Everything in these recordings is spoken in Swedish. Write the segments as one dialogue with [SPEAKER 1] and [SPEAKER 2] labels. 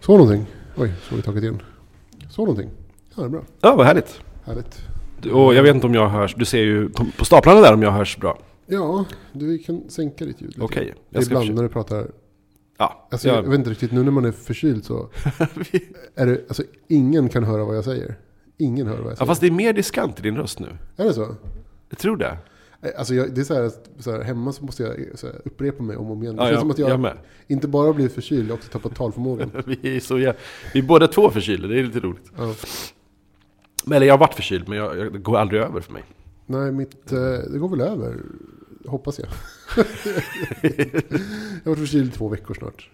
[SPEAKER 1] Så någonting. Oj, så har vi tagit in. Så någonting. Ja, det är bra.
[SPEAKER 2] Ja, vad härligt.
[SPEAKER 1] Härligt.
[SPEAKER 2] Du- Och jag vet inte om jag hörs. Du ser ju på, på staplarna där om jag hörs bra.
[SPEAKER 1] Ja, du vi kan sänka ditt ljud lite.
[SPEAKER 2] Okej.
[SPEAKER 1] Det är
[SPEAKER 2] Jag ska
[SPEAKER 1] ibland
[SPEAKER 2] försöka.
[SPEAKER 1] när du pratar.
[SPEAKER 2] Ja,
[SPEAKER 1] Alltså, Jag
[SPEAKER 2] jag,
[SPEAKER 1] vet inte riktigt, nu när man är förkyld så är det, alltså ingen kan höra vad jag säger. Ingen hör vad jag
[SPEAKER 2] ja,
[SPEAKER 1] säger.
[SPEAKER 2] fast det är mer diskant i din röst nu.
[SPEAKER 1] Är det så?
[SPEAKER 2] Jag tror det.
[SPEAKER 1] Eh, Alltså jag, det är så här, att- så här, hemma så måste jag så här, upprepa mig om och om igen. Det
[SPEAKER 2] Ja,
[SPEAKER 1] känns
[SPEAKER 2] jag,
[SPEAKER 1] som att
[SPEAKER 2] jag,
[SPEAKER 1] jag,
[SPEAKER 2] med.
[SPEAKER 1] inte bara har blivit förkyld, jag har också tappat talförmågan.
[SPEAKER 2] Vi är, så, jä- vi är båda två förkylda, det är lite roligt.
[SPEAKER 1] ja.
[SPEAKER 2] Men, eller jag har varit förkyld, men jag, jag, det går aldrig över för mig.
[SPEAKER 1] Nej, mitt, eh, det går väl över, hoppas jag. jag har varit förkyld i två veckor snart.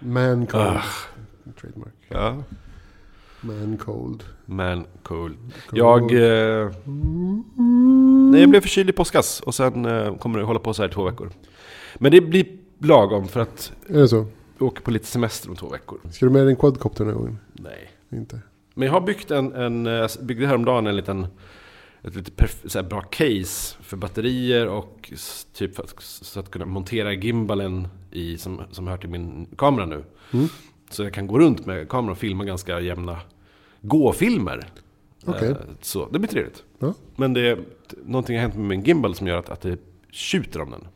[SPEAKER 1] Man cold.
[SPEAKER 2] Ah.
[SPEAKER 1] Trademark.
[SPEAKER 2] Ja.
[SPEAKER 1] Man cold.
[SPEAKER 2] Men cool.
[SPEAKER 1] Cold.
[SPEAKER 2] Jag... Eh, nej, jag blev förkyld i påskas och sen eh, kommer det hålla på så här i två veckor. Men det blir lagom för att
[SPEAKER 1] Är det så?
[SPEAKER 2] vi åker på lite semester om två veckor.
[SPEAKER 1] Ska du med dig en quadcopter den här gången?
[SPEAKER 2] Nej.
[SPEAKER 1] Inte.
[SPEAKER 2] Men jag har byggt en, en eh, byggde häromdagen en liten, ett lite perf- så här bra case för batterier och s- typ för att, så att kunna montera gimbalen i, som, som hör till min kamera nu.
[SPEAKER 1] Mm.
[SPEAKER 2] Så jag kan gå runt med kameran och filma ganska jämna gåfilmer.
[SPEAKER 1] Okej.
[SPEAKER 2] Eh, Så det blir trevligt.
[SPEAKER 1] Ja.
[SPEAKER 2] Men det, någonting har hänt med min gimbal som gör att, att det tjuter om den.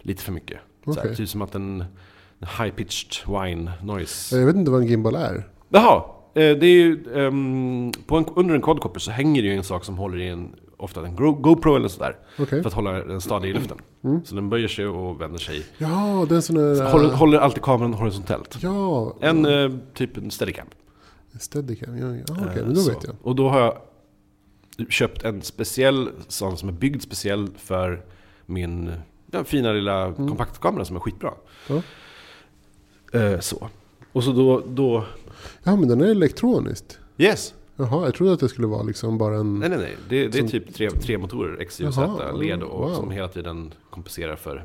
[SPEAKER 2] Lite för mycket. Så här,
[SPEAKER 1] Okej.
[SPEAKER 2] typ som att en en high-pitched whine noise.
[SPEAKER 1] Jag vet inte vad en gimbal är.
[SPEAKER 2] Jaha, eh, det är ju, ehm, på en, under en quadcopter så hänger det ju en sak som håller i en, ofta en Go- GoPro eller sådär.
[SPEAKER 1] Okej.
[SPEAKER 2] För att hålla den stadig i luften.
[SPEAKER 1] Mm.
[SPEAKER 2] Så den böjer sig och vänder sig.
[SPEAKER 1] Ja, den som är...
[SPEAKER 2] Håller, håller alltid kameran horisontellt.
[SPEAKER 1] Ja,
[SPEAKER 2] En eh, typ en steadicam.
[SPEAKER 1] Steadicam. Ja, ja. Ah, Mm. Okej,
[SPEAKER 2] Eh,
[SPEAKER 1] men då
[SPEAKER 2] så.
[SPEAKER 1] vet jag.
[SPEAKER 2] Och då har jag köpt en speciell sån som är byggd speciell för min ja, fina lilla kompaktkamera som är skitbra.
[SPEAKER 1] Mm. Ja.
[SPEAKER 2] Eh, så. Och så då, då...
[SPEAKER 1] ja, men den är elektroniskt.
[SPEAKER 2] Yes!
[SPEAKER 1] Jaha, jag trodde att det skulle vara liksom bara en...
[SPEAKER 2] Nej, nej, nej. Det, det är
[SPEAKER 1] Som-
[SPEAKER 2] typ tre, tre motorer, X, Y,
[SPEAKER 1] Jaha,
[SPEAKER 2] Z, led och
[SPEAKER 1] wow.
[SPEAKER 2] som hela tiden kompenserar för...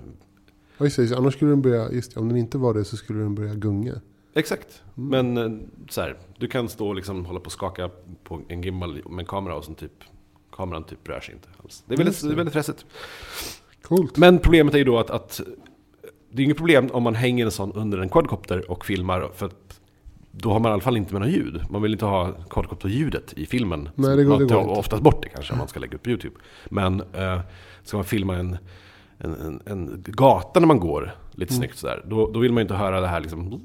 [SPEAKER 1] Ja, just det, just det. annars skulle den börja... Just det, om den inte var det så skulle den börja gunga.
[SPEAKER 2] Exakt.
[SPEAKER 1] Mm.
[SPEAKER 2] Men eh, så här, du kan stå och liksom hålla på och skaka på en gimbal med en kamera och som typ, kameran typ rör sig inte alls. Det är väldigt,
[SPEAKER 1] Just det.
[SPEAKER 2] det är väldigt stressigt.
[SPEAKER 1] Coolt.
[SPEAKER 2] Men problemet är ju då att, att det är inget problem om man hänger en sån under en quadcopter och filmar. För att då har man i alla fall inte med något ljud. Man vill inte ha quadcopter-ljudet i filmen.
[SPEAKER 1] Nej, det går-
[SPEAKER 2] man
[SPEAKER 1] det
[SPEAKER 2] tar
[SPEAKER 1] går inte.
[SPEAKER 2] oftast bort det kanske om man ska lägga upp på YouTube. Men eh, ska man filma en, en, en, en gata när man går lite snyggt sådär. Då, då vill man ju inte höra det här liksom.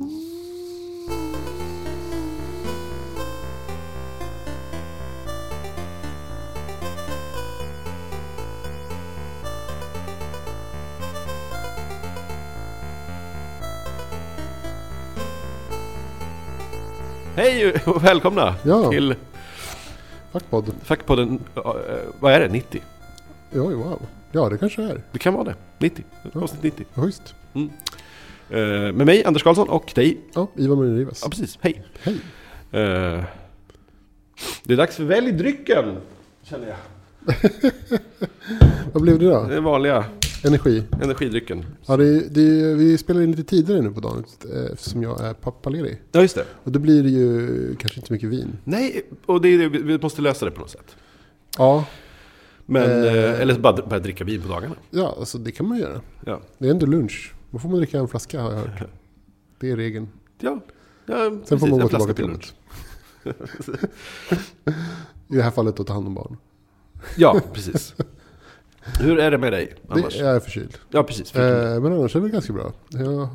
[SPEAKER 2] Hej och välkomna
[SPEAKER 1] Ja.
[SPEAKER 2] till
[SPEAKER 1] Fuckpodden.
[SPEAKER 2] Fackpodden, ja, eh, vad är det, 90?
[SPEAKER 1] Ja, wow. Ja, det kanske är.
[SPEAKER 2] Det kan vara det, 90, avsnitt 90.
[SPEAKER 1] Ja, just.
[SPEAKER 2] Eh, med mig, Anders Karlsson och dig,
[SPEAKER 1] Ja, Ivan Melin-Rivas.
[SPEAKER 2] ja precis, hej.
[SPEAKER 1] Hej.
[SPEAKER 2] Eh, det är dags för välj drycken, känner jag.
[SPEAKER 1] Vad blev det då?
[SPEAKER 2] Den vanliga
[SPEAKER 1] Energi.
[SPEAKER 2] energidrycken.
[SPEAKER 1] Ja, det, är- det, är- vi spelar in lite tidigare nu på dagen eh, eftersom jag är pappaledig.
[SPEAKER 2] Ja, just det.
[SPEAKER 1] Och då blir det ju kanske inte så mycket vin.
[SPEAKER 2] Nej, och det är det, vi- vi måste lösa det på något sätt.
[SPEAKER 1] Ja,
[SPEAKER 2] Men,
[SPEAKER 1] Eh.
[SPEAKER 2] eh, eller bara, bara dricka vin på dagarna.
[SPEAKER 1] ja alltså det kan man göra.
[SPEAKER 2] Ja,
[SPEAKER 1] Det är ändå lunch. Då får man dricka en flaska har jag hört. Det är regeln.
[SPEAKER 2] ja, ja
[SPEAKER 1] Sen får man gå
[SPEAKER 2] en flaska
[SPEAKER 1] tillbaka till
[SPEAKER 2] pilulch.
[SPEAKER 1] jobbet. I det här fallet att ta hand om barn.
[SPEAKER 2] Ja, precis. Hur är det med dig annars?
[SPEAKER 1] Det jag är förkyld.
[SPEAKER 2] Ja, precis. Fick du-
[SPEAKER 1] Eh, men annars är det ganska bra. Jag,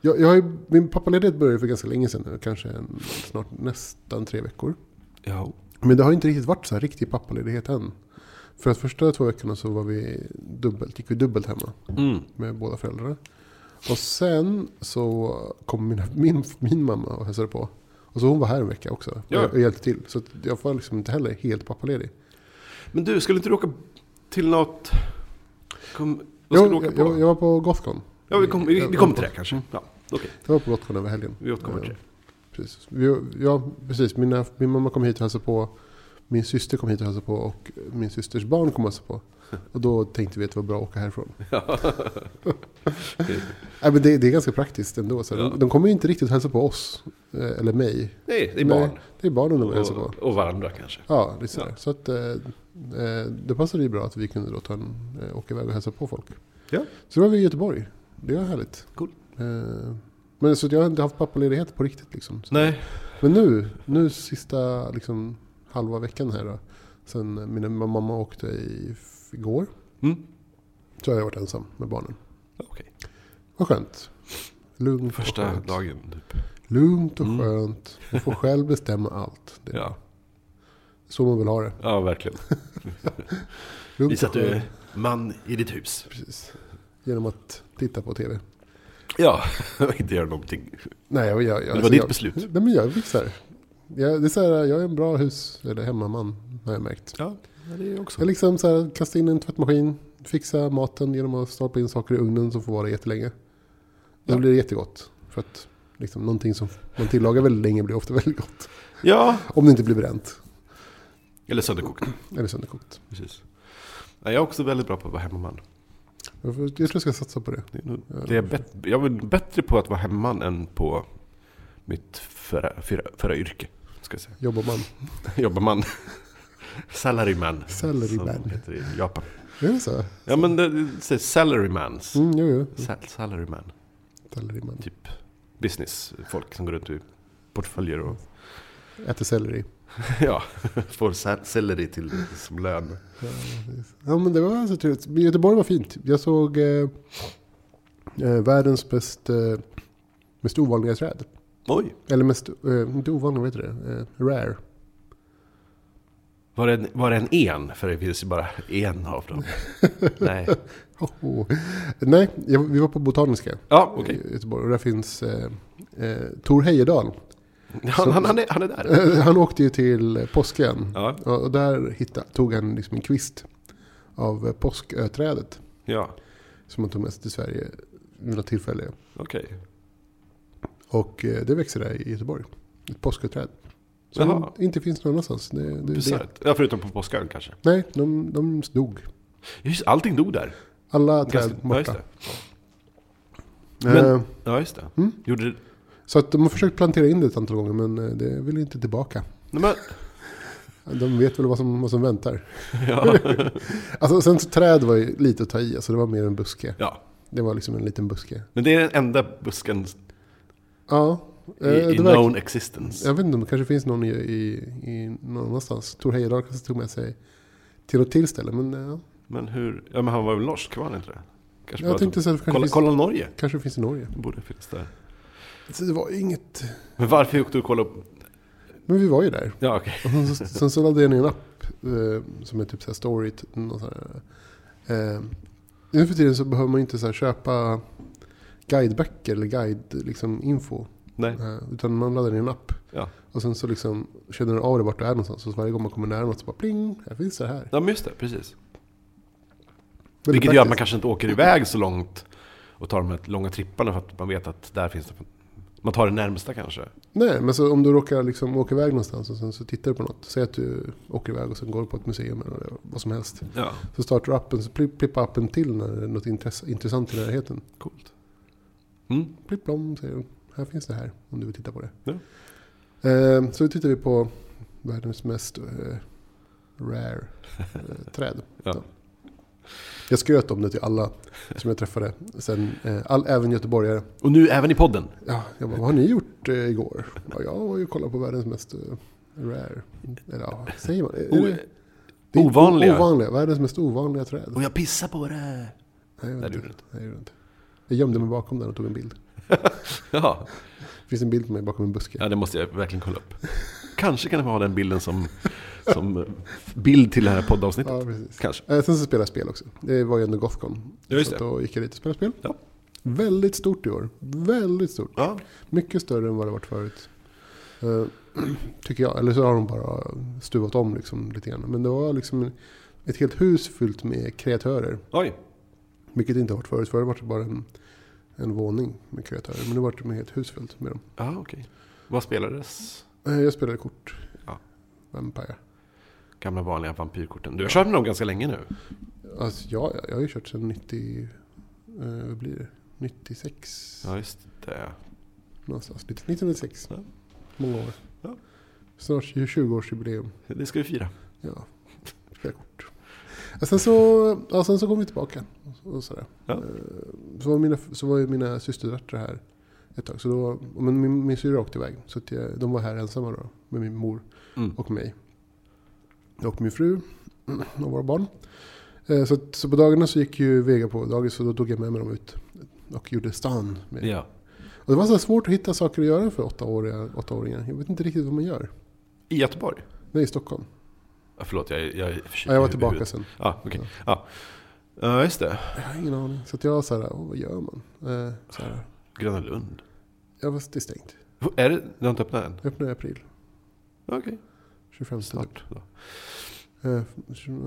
[SPEAKER 1] jag, jag har ju, min pappaledighet började för ganska länge sedan nu. Kanske en, snart nästan tre veckor.
[SPEAKER 2] Ja.
[SPEAKER 1] Men det har inte riktigt varit så här riktig pappaledighet än. För att första två veckorna så var vi dubbelt, gick vi dubbelt hemma
[SPEAKER 2] Mm.
[SPEAKER 1] med båda föräldrarna. Och sen så kom min, min, min mamma och hälsade på. Och så hon var här en vecka också och,
[SPEAKER 2] Ja.
[SPEAKER 1] och hjälpte till. Så att jag var liksom inte heller helt pappaledig.
[SPEAKER 2] Men du, skulle inte du åka till något... Kom, vad ska
[SPEAKER 1] Jag,
[SPEAKER 2] du åka på?
[SPEAKER 1] jag, jag var på Gothcon.
[SPEAKER 2] ja, vi kommer vi, vi kommer till det
[SPEAKER 1] Jag-
[SPEAKER 2] kanske. Ja, okej.
[SPEAKER 1] Jag var på Gothcon över helgen.
[SPEAKER 2] Vi återkommer till
[SPEAKER 1] Eh,
[SPEAKER 2] det.
[SPEAKER 1] Precis. Vi, ja, precis. Mina, min mamma kom hit och hälsade på. Min syster kom hit och hälsade på och min systers barn kom och hälsade på. Och då tänkte vi att det var bra att åka härifrån. Nej, men det, det är ganska praktiskt ändå. Så här.
[SPEAKER 2] Ja.
[SPEAKER 1] de, de kommer ju inte riktigt hälsa på oss, eh, eller mig.
[SPEAKER 2] Nej, det är
[SPEAKER 1] Nej,
[SPEAKER 2] barn.
[SPEAKER 1] Det är barnen de hälsar på.
[SPEAKER 2] Och, och varandra kanske.
[SPEAKER 1] Ja, det är så. här.
[SPEAKER 2] Ja.
[SPEAKER 1] Så att, eh, eh, det passade ju bra att vi kunde då ta en, eh, åka iväg och hälsa på folk.
[SPEAKER 2] Ja.
[SPEAKER 1] Så då var vi i Göteborg. Det var härligt.
[SPEAKER 2] Cool.
[SPEAKER 1] Eh, Men så att jag har inte haft pappaledighet på riktigt liksom. Så.
[SPEAKER 2] Nej.
[SPEAKER 1] Men nu, nu sista liksom, halva veckan här då. Sen min mamma åkte i, igår.
[SPEAKER 2] Mm.
[SPEAKER 1] Så har jag varit ensam med barnen.
[SPEAKER 2] Okej.
[SPEAKER 1] Vad skönt. Lugnt och
[SPEAKER 2] Första
[SPEAKER 1] skönt.
[SPEAKER 2] dagen. Typ.
[SPEAKER 1] Lugnt och
[SPEAKER 2] Mm.
[SPEAKER 1] skönt. Man får själv bestämma allt. Det är
[SPEAKER 2] Ja.
[SPEAKER 1] så man vill ha det.
[SPEAKER 2] ja, verkligen.
[SPEAKER 1] Lugnt
[SPEAKER 2] Visa att
[SPEAKER 1] och
[SPEAKER 2] du
[SPEAKER 1] skönt.
[SPEAKER 2] är man i ditt hus.
[SPEAKER 1] Precis. Genom att titta på TV.
[SPEAKER 2] Ja, och inte göra någonting.
[SPEAKER 1] Nej, jag, alltså jag, det
[SPEAKER 2] var ditt beslut.
[SPEAKER 1] Nej, men jag fixar. Jag, det är så här, jag är en bra hus eller hemmaman har jag märkt.
[SPEAKER 2] Ja, det är också.
[SPEAKER 1] Jag liksom så här, kastar in en tvättmaskin, fixa maten genom att stoppa in saker i ugnen som får vara jättelänge. Då
[SPEAKER 2] Ja.
[SPEAKER 1] blir det jättegott. För att liksom, någonting som man tillagar väldigt länge blir ofta väldigt gott.
[SPEAKER 2] Ja,
[SPEAKER 1] Om det inte blir bränt
[SPEAKER 2] eller sönderkokt.
[SPEAKER 1] eller sönderkokt.
[SPEAKER 2] Precis. Ja, jag är också väldigt bra på att vara hemmaman.
[SPEAKER 1] Jag får- jag tror jag ska satsa på det.
[SPEAKER 2] Det är nog-
[SPEAKER 1] Ja.
[SPEAKER 2] Det är bet- jag är bättre på att vara hemmaman än på mitt förra, förra, förra yrke. Ska jag säga.
[SPEAKER 1] Jobbar man.
[SPEAKER 2] Jobbar man. Salaryman.
[SPEAKER 1] Salaryman.
[SPEAKER 2] Som heter det i Japan.
[SPEAKER 1] Är det så?
[SPEAKER 2] Ja men det, det sägs salarymans.
[SPEAKER 1] Mm, jo, jo.
[SPEAKER 2] Sal- salaryman.
[SPEAKER 1] Selleri-man.
[SPEAKER 2] Typ businessfolk som går runt i portföljer och
[SPEAKER 1] Äter selleri.
[SPEAKER 2] ja, får sal- selleri till som lön.
[SPEAKER 1] Ja, precis. Ja, men det var så trevligt. Men Göteborg var fint. Jag såg eh, eh, världens bäst, eh, mest ovanliga träd.
[SPEAKER 2] Oj!
[SPEAKER 1] Eller mest, eh, inte ovanliga, vad heter det? Eh, rare.
[SPEAKER 2] Var det, en, var det en en? För det finns ju bara en av dem. Nej.
[SPEAKER 1] Hoho. Oh. Nej, jag, vi var på Botaniska
[SPEAKER 2] Ja, okej.
[SPEAKER 1] i Göteborg och där finns eh, eh, Tor Heyerdahl.
[SPEAKER 2] Han, han, han, är, han är där.
[SPEAKER 1] Han åkte ju till Påskön
[SPEAKER 2] Ja,
[SPEAKER 1] och, och där hitta, tog han liksom en kvist av eh, påsköträdet
[SPEAKER 2] ja.
[SPEAKER 1] som han tog med sig till Sverige vid något tillfälle.
[SPEAKER 2] okej.
[SPEAKER 1] Och eh, det växer där i Göteborg. Ett påsköträd. Som
[SPEAKER 2] Jaha.
[SPEAKER 1] inte finns någon annanstans. Det, det, är det.
[SPEAKER 2] Bisarrt. Ja, förutom på påskön kanske.
[SPEAKER 1] Nej, de, de dog.
[SPEAKER 2] Just, allting dog där.
[SPEAKER 1] Alla träd
[SPEAKER 2] Ganska- Ja, just
[SPEAKER 1] borta.
[SPEAKER 2] det. Men-
[SPEAKER 1] Eh,
[SPEAKER 2] Ja, just det.
[SPEAKER 1] Mm.
[SPEAKER 2] Gjorde det...
[SPEAKER 1] Så att de har försökt plantera in det ett antal gånger men eh, det vill inte tillbaka.
[SPEAKER 2] Nej, men...
[SPEAKER 1] De vet väl vad som, vad som väntar.
[SPEAKER 2] Ja.
[SPEAKER 1] Alltså, sen så träd var ju lite att ta i, alltså det var mer en buske.
[SPEAKER 2] ja.
[SPEAKER 1] Det var liksom en liten buske.
[SPEAKER 2] Men det är den enda busken
[SPEAKER 1] Ja, eh,
[SPEAKER 2] i, i
[SPEAKER 1] det verkar,
[SPEAKER 2] known existence.
[SPEAKER 1] jag vet inte om det kanske finns någon i, i, i någon annanstans. Tor Heyerdahl kanske tog med sig till något till ställe. Men eh,
[SPEAKER 2] Men hur... Ja, men han var väl norsk, var han inte det? Kanske
[SPEAKER 1] jag
[SPEAKER 2] bara
[SPEAKER 1] tänkte så att det
[SPEAKER 2] tog...
[SPEAKER 1] kanske,
[SPEAKER 2] kolla,
[SPEAKER 1] finns,
[SPEAKER 2] kolla Norge.
[SPEAKER 1] kanske finns i Norge.
[SPEAKER 2] Det borde finnas där.
[SPEAKER 1] Så det var inget...
[SPEAKER 2] Men varför åkte du och kollade upp...
[SPEAKER 1] Men vi var ju där.
[SPEAKER 2] Ja, okej.
[SPEAKER 1] Och sen, så- sen så laddade jag ner en app eh, som är typ så här story. t- Någon sån här, eh, nu för tiden så behöver man ju inte så här köpa guideböcker eller guide liksom, info.
[SPEAKER 2] Nej.
[SPEAKER 1] Eh, utan man laddar ner en app.
[SPEAKER 2] Ja.
[SPEAKER 1] Och sen så liksom känner den av det vart du är någonstans. Så varje gång man kommer nära något så bara pling, här finns det här.
[SPEAKER 2] Ja, men just det. Precis.
[SPEAKER 1] Väldigt
[SPEAKER 2] Vilket gör att man
[SPEAKER 1] praktiskt.
[SPEAKER 2] kanske inte åker iväg så långt och tar de här långa tripparna för att man vet att där finns det... Man tar det närmsta kanske.
[SPEAKER 1] Nej, men så om du råkar liksom åka iväg någonstans och sen så tittar du på något. Säg att du åker iväg och sen går du på ett museum eller vad som helst.
[SPEAKER 2] Ja,
[SPEAKER 1] Så startar du appen, så pli- plippar appen till när det är något intress- intressant i närheten.
[SPEAKER 2] coolt. Mm.
[SPEAKER 1] Plipp plom, säger den. Här finns det här, om du vill titta på det.
[SPEAKER 2] Ja.
[SPEAKER 1] Eh, så tittar vi på världens mest eh, rare eh, träd.
[SPEAKER 2] Ja.
[SPEAKER 1] Jag skröt om det till alla som jag träffade. Sen, eh, all, även göteborgare.
[SPEAKER 2] Och nu även i podden.
[SPEAKER 1] Ja, jag bara, vad har ni gjort eh, igår? Ja, jag var ju och kollade på världens mest eh, rare. Eller ja, vad säger man? Är det-
[SPEAKER 2] O-
[SPEAKER 1] det är
[SPEAKER 2] ovanliga.
[SPEAKER 1] ovanliga. Världens mest ovanliga träd.
[SPEAKER 2] eh, Och jag pissar på det.
[SPEAKER 1] Nej, jag
[SPEAKER 2] Nej,
[SPEAKER 1] vet
[SPEAKER 2] det
[SPEAKER 1] inte.
[SPEAKER 2] gjorde du inte.
[SPEAKER 1] Nej, det gjorde jag inte. Jag gömde mig bakom den och tog en bild.
[SPEAKER 2] Ja.
[SPEAKER 1] Det finns en bild på mig bakom en buske.
[SPEAKER 2] ja, det måste jag verkligen kolla upp. Kanske kan jag ha den bilden som, som eh, bild till det här poddavsnittet.
[SPEAKER 1] Ja, precis.
[SPEAKER 2] Kanske.
[SPEAKER 1] Eh, Sen så spelade jag spel också. Det var ju ändå Gothcon.
[SPEAKER 2] Ja, just
[SPEAKER 1] så
[SPEAKER 2] det.
[SPEAKER 1] att då gick jag dit och spelade spel.
[SPEAKER 2] Ja.
[SPEAKER 1] Väldigt stort i år. Väldigt stort.
[SPEAKER 2] Ja.
[SPEAKER 1] Mycket större än vad det varit förut. Eh, tycker jag. Eller så har de bara stuvat om liksom lite grann. Men det var liksom ett helt hus fyllt med kreatörer.
[SPEAKER 2] Oj.
[SPEAKER 1] Vilket inte har varit förut. Förut var det bara en, en våning med kreatörer. Men nu var det ett helt hus fyllt med dem.
[SPEAKER 2] Ja, okej. Vad spelades?
[SPEAKER 1] Eh, jag spelade kort.
[SPEAKER 2] Ja.
[SPEAKER 1] Vampire.
[SPEAKER 2] Gamla vanliga vampyrkorten. Du har kört med dem ganska länge nu.
[SPEAKER 1] Alltså, ja, jag har ju kört sedan 90... Eh, vad blir det? 96?
[SPEAKER 2] Ja, just det.
[SPEAKER 1] Någonstans. 1996.
[SPEAKER 2] Ja.
[SPEAKER 1] Många år.
[SPEAKER 2] Ja.
[SPEAKER 1] Snart 20-årsjubileum.
[SPEAKER 2] Det ska vi fira.
[SPEAKER 1] Ja. Spela kort. Ja, sen, så, ja, sen så kom vi tillbaka. Och sådär.
[SPEAKER 2] Ja.
[SPEAKER 1] Eh, Så, var mina, så var ju mina systerdöttrar här ett tag. Så då, men min, min syrra åkte iväg. Så att jag, de var här ensamma då, med min mor
[SPEAKER 2] Mm.
[SPEAKER 1] och mig. Och min fru och våra barn. Eh, Så, att, så på dagarna så gick ju Vega på dagis så då tog jag med mig dem ut och gjorde stan. Med.
[SPEAKER 2] Ja.
[SPEAKER 1] Och det var så här svårt att hitta saker att göra för åttaåriga, åttaåringar. Jag vet inte riktigt vad man gör.
[SPEAKER 2] I Göteborg?
[SPEAKER 1] Nej, i Stockholm.
[SPEAKER 2] Ja, förlåt, jag, jag är förkyld
[SPEAKER 1] Ja, jag var
[SPEAKER 2] i
[SPEAKER 1] tillbaka
[SPEAKER 2] huvudet.
[SPEAKER 1] sen.
[SPEAKER 2] Ja, okej. Ja. ja, just det.
[SPEAKER 1] Jag har ingen aning. Så att jag var så här, "Åh, vad gör man? Eh, Så här,
[SPEAKER 2] Gröna Lund.
[SPEAKER 1] jag var det är stängt.
[SPEAKER 2] Är det? Du har inte öppnat än?
[SPEAKER 1] Jag öppnar i april.
[SPEAKER 2] Okej,
[SPEAKER 1] 25
[SPEAKER 2] snart. då.
[SPEAKER 1] Eh,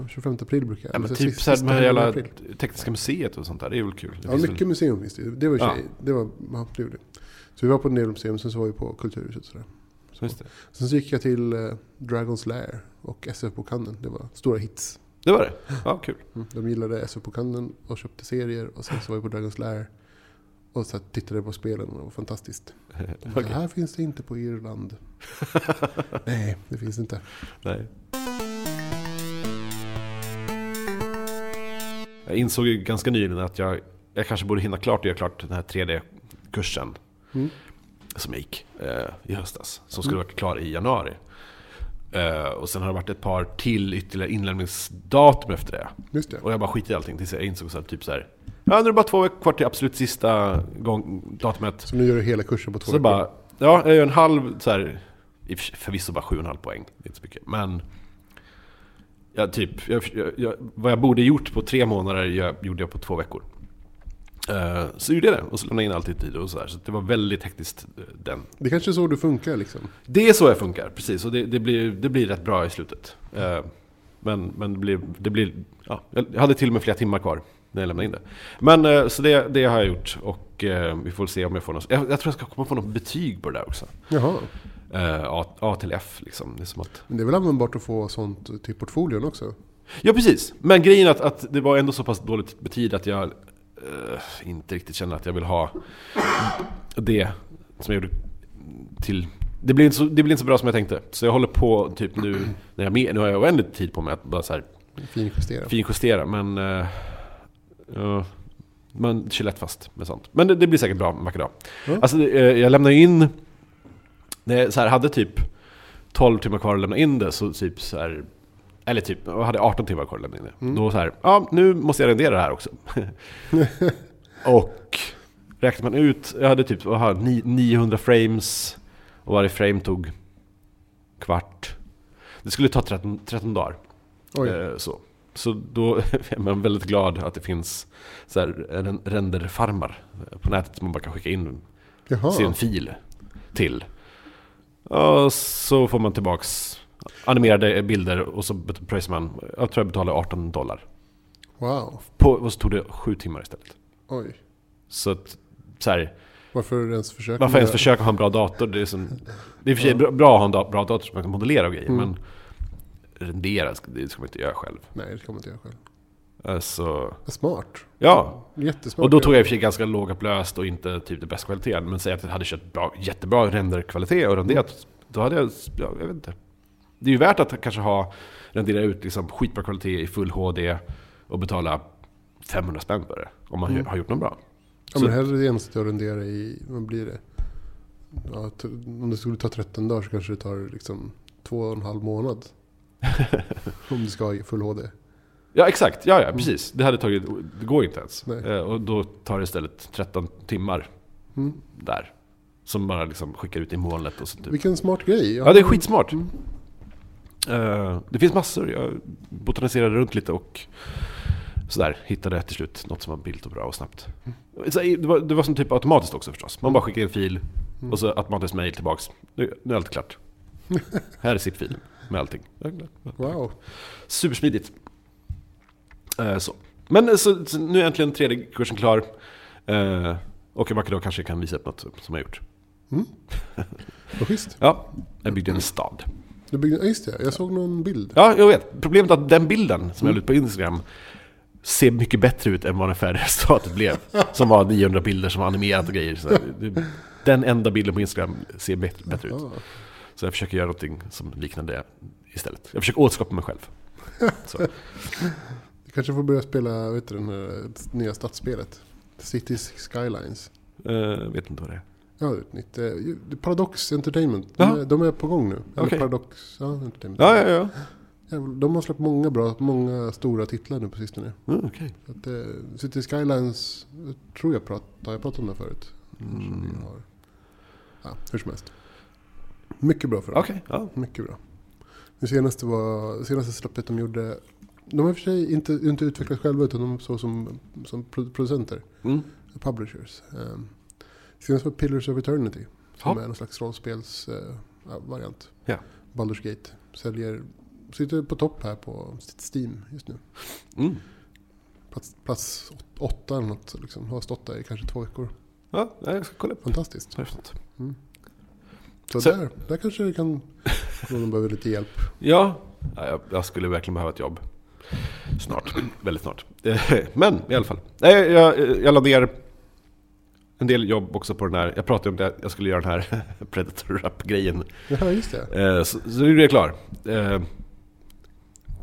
[SPEAKER 1] 25 april brukar jag.
[SPEAKER 2] Ja, men
[SPEAKER 1] Så
[SPEAKER 2] typ
[SPEAKER 1] sist-
[SPEAKER 2] så här
[SPEAKER 1] sista
[SPEAKER 2] med
[SPEAKER 1] helgen i
[SPEAKER 2] hela
[SPEAKER 1] april.
[SPEAKER 2] Tekniska Museet och sånt där, det är väl kul? Det
[SPEAKER 1] Ja,
[SPEAKER 2] finns
[SPEAKER 1] mycket museum finns det ju. Det var i och för
[SPEAKER 2] Ja.
[SPEAKER 1] sig, det var, ja, det gjorde det. Så vi var på en del museum, sen så var vi på Kulturhuset. Sådär.
[SPEAKER 2] Väl, just det.
[SPEAKER 1] Sen så gick jag till eh, Dragons Lair och SF-bokhandeln. Det var stora hits.
[SPEAKER 2] det var det? Ja, kul.
[SPEAKER 1] Mm. De gillade SF-bokhandeln och köpte serier och sen så var vi på Dragons Lair och så här tittade på spelen och det var fantastiskt. De bara,
[SPEAKER 2] Okej.
[SPEAKER 1] Det här finns det inte på Irland. Nej, det finns inte.
[SPEAKER 2] Nej. Jag insåg ju ganska nyligen att jag, jag kanske borde hinna klart och göra klart den här 3D-kursen
[SPEAKER 1] Mm.
[SPEAKER 2] som jag gick eh, i höstas. Som skulle vara klar i januari. Eh, och sen har det varit ett par till ytterligare inlämningsdatum efter det.
[SPEAKER 1] Just det.
[SPEAKER 2] Och jag bara skiter i allting tills jag insåg så här, typ så här. Ja, nu är det bara två veckor kvar till absolut sista gång, datumet.
[SPEAKER 1] Så nu gör du hela kursen på två
[SPEAKER 2] Så bara, ja, jag gör en halv så här, i och för sig- förvisso bara sju och en halv poäng, det är inte så mycket. Men, ja, typ, jag, jag, jag, vad jag borde gjort på tre månader jag, gjorde jag på två veckor. Eh, så gjorde jag det och så lämnade jag in allt i tid och sådär. Så det var väldigt hektiskt eh, den.
[SPEAKER 1] Det kanske är så du funkar liksom.
[SPEAKER 2] Det är så jag funkar, precis. Och det, det, blir, det blir rätt bra i slutet. Eh, men men det blir, det blir, ja, jag hade till och med flera timmar kvar när jag lämnade in det. Men eh, så det, det har jag gjort och eh, vi får se om jag får något. Jag, jag tror jag ska komma få något betyg på det där också.
[SPEAKER 1] Jaha.
[SPEAKER 2] Eh, A, A till F liksom. Det är som att...
[SPEAKER 1] Men det är väl användbart att få sånt till portfolion också?
[SPEAKER 2] Ja, precis. Men grejen är att, att det var ändå så pass dåligt med tid att jag eh, inte riktigt känner att jag vill ha det som jag gjorde till... Det blev, inte så, det blev inte så bra som jag tänkte. Så jag håller på typ nu, när jag, med- nu har jag oändligt tid på mig att bara så här
[SPEAKER 1] Finjustera.
[SPEAKER 2] finjustera. Men... eh, ja, man kör lätt fast med sånt. Men det, det blir säkert bra en vacker dag.
[SPEAKER 1] Ja.
[SPEAKER 2] Alltså, det, eh, jag lämnade in... När jag så här, hade typ 12 timmar kvar att lämna in det, så typ så här... Eller typ, jag hade 18 timmar kvar att lämna in det. Då så här, ja, nu måste jag rendera det här också. och räknar man ut, jag hade typ aha, ni- 900 frames och varje frame tog kvart. Det skulle ta 13, 13 dagar.
[SPEAKER 1] Oj.
[SPEAKER 2] Eh, Så. så då är man väldigt glad att det finns så här ren- renderfarmar på nätet som man bara kan skicka in
[SPEAKER 1] Jaha.
[SPEAKER 2] sin fil till. Och så får man tillbaks animerade bilder och så bet- pröjsar man, jag tror jag betalade 18 dollar.
[SPEAKER 1] Wow.
[SPEAKER 2] På, och så tog det sju timmar istället.
[SPEAKER 1] Oj.
[SPEAKER 2] Så att, så här,
[SPEAKER 1] Varför ens försöka?
[SPEAKER 2] varför ens
[SPEAKER 1] med det?
[SPEAKER 2] försöka ha en bra dator? Det är, som, det är i och för sig bra- bra att ha en da- bra dator som man kan modellera och grejer,
[SPEAKER 1] Mm.
[SPEAKER 2] men rendera, det ska man inte göra själv.
[SPEAKER 1] Nej, det kommer inte jag själv.
[SPEAKER 2] Alltså,
[SPEAKER 1] Vad Smart.
[SPEAKER 2] ja,
[SPEAKER 1] Jättesmart.
[SPEAKER 2] Och då tog jag i och för sig ganska lågupplöst och inte typ det bästa kvaliteten. Men säg att jag hade köpt bra, jättebra renderkvalitet och
[SPEAKER 1] Mm.
[SPEAKER 2] renderat. Då hade jag, ja, jag vet inte. Det är ju värt att kanske ha rendera ut liksom skitbra kvalitet i full HD och betala 500 spänn för det. Om man
[SPEAKER 1] Mm.
[SPEAKER 2] har gjort något bra.
[SPEAKER 1] Ja, men hellre det än att sitta och rendera i, vad blir det? Ja, t- om det skulle ta 13 dagar så kanske det tar liksom två och en halv månad. om du ska ha i full HD.
[SPEAKER 2] Typ. Ja exakt, ja, ja precis. Det hade tagit, det går ju inte ens.
[SPEAKER 1] Mm. Nej.
[SPEAKER 2] Eh, Och då tar det istället 13 timmar
[SPEAKER 1] Mm.
[SPEAKER 2] där. Som bara liksom skickar ut i molnet och så typ.
[SPEAKER 1] Vilken smart grej. Jag
[SPEAKER 2] Ja det är
[SPEAKER 1] har-
[SPEAKER 2] skitsmart.
[SPEAKER 1] Mm.
[SPEAKER 2] Eh, det finns massor. Jag botaniserade runt lite och sådär. Hittade till slut något som var billigt och bra och snabbt. Så, eh, det, var, det var som typ automatiskt också förstås. Man bara skickade en fil
[SPEAKER 1] Mm.
[SPEAKER 2] och så automatiskt mejl tillbaks. Nu, nu är allt klart. Här är sitt fil med allting.
[SPEAKER 1] Wow.
[SPEAKER 2] Supersmidigt. Eh, så. Men eh, så, så nu är äntligen tredje kursen klar. Eh, och en vacker dag kanske jag kan visa upp något som jag gjort.
[SPEAKER 1] Vad schysst.
[SPEAKER 2] Ja, jag byggde en stad.
[SPEAKER 1] Du byggde, ja, just det, jag såg någon bild.
[SPEAKER 2] Ja, jag vet. Problemet är att den bilden som jag la ut på Instagram ser mycket bättre ut än vad den färdiga resultatet blev. Som var 900 bilder som var animerat och grejer. Så det- den enda bilden på Instagram ser bet- bättre ut.
[SPEAKER 1] Ja.
[SPEAKER 2] Så jag försöker göra någonting som liknar det istället. Jag försöker återskapa mig själv. Så.
[SPEAKER 1] Du kanske får börja spela vet du, det här nya stadsspelet. Cities Skylines.
[SPEAKER 2] Eh, vet inte vad det är.
[SPEAKER 1] Ja, ett nytt. eh, ju- Paradox Entertainment.
[SPEAKER 2] Jaha.
[SPEAKER 1] De är, de är på gång nu. Eller
[SPEAKER 2] Okej.
[SPEAKER 1] Paradox ja, Entertainment.
[SPEAKER 2] Ja, ja, ja.
[SPEAKER 1] Jävlar, De har släppt många bra, många stora titlar nu på sistone.
[SPEAKER 2] Mm, okej.
[SPEAKER 1] Så Att, eh, City Skylines tror jag prat, har jag pratat om det förut. Kanske
[SPEAKER 2] Mm.
[SPEAKER 1] vi har. Ja, hur som helst. Mycket bra för dem.
[SPEAKER 2] Okej, ja.
[SPEAKER 1] Mycket bra. Det senaste, var, senaste släppet de gjorde, de har i och för sig inte, inte utvecklat själva utan de så som, som pro- producenter,
[SPEAKER 2] Mm.
[SPEAKER 1] publishers. Um, senast var Pillars of Eternity, som
[SPEAKER 2] Ja.
[SPEAKER 1] är någon slags rollspelsvariant.
[SPEAKER 2] Ja.
[SPEAKER 1] Baldur's Gate säljer, sitter på topp här på sitt Steam just nu.
[SPEAKER 2] Mm.
[SPEAKER 1] Plats, plats åt- åtta eller något, liksom. har stått där i kanske två veckor.
[SPEAKER 2] Ja, jag ska kolla upp
[SPEAKER 1] Fantastiskt.
[SPEAKER 2] vad det är för något.
[SPEAKER 1] Så,
[SPEAKER 2] Så-
[SPEAKER 1] där, där kanske det kan, någon behöver lite hjälp.
[SPEAKER 2] Ja, ja, jag, jag skulle verkligen behöva ett jobb. Snart, väldigt snart. Eh, Men i alla fall. Nej, jag, eh, jag la ner en del jobb också på den här. Jag pratade om det, jag skulle göra den här Predator-rap-grejen.
[SPEAKER 1] Ja, just det.
[SPEAKER 2] Eh, Så, så nu är jag klar. Eh,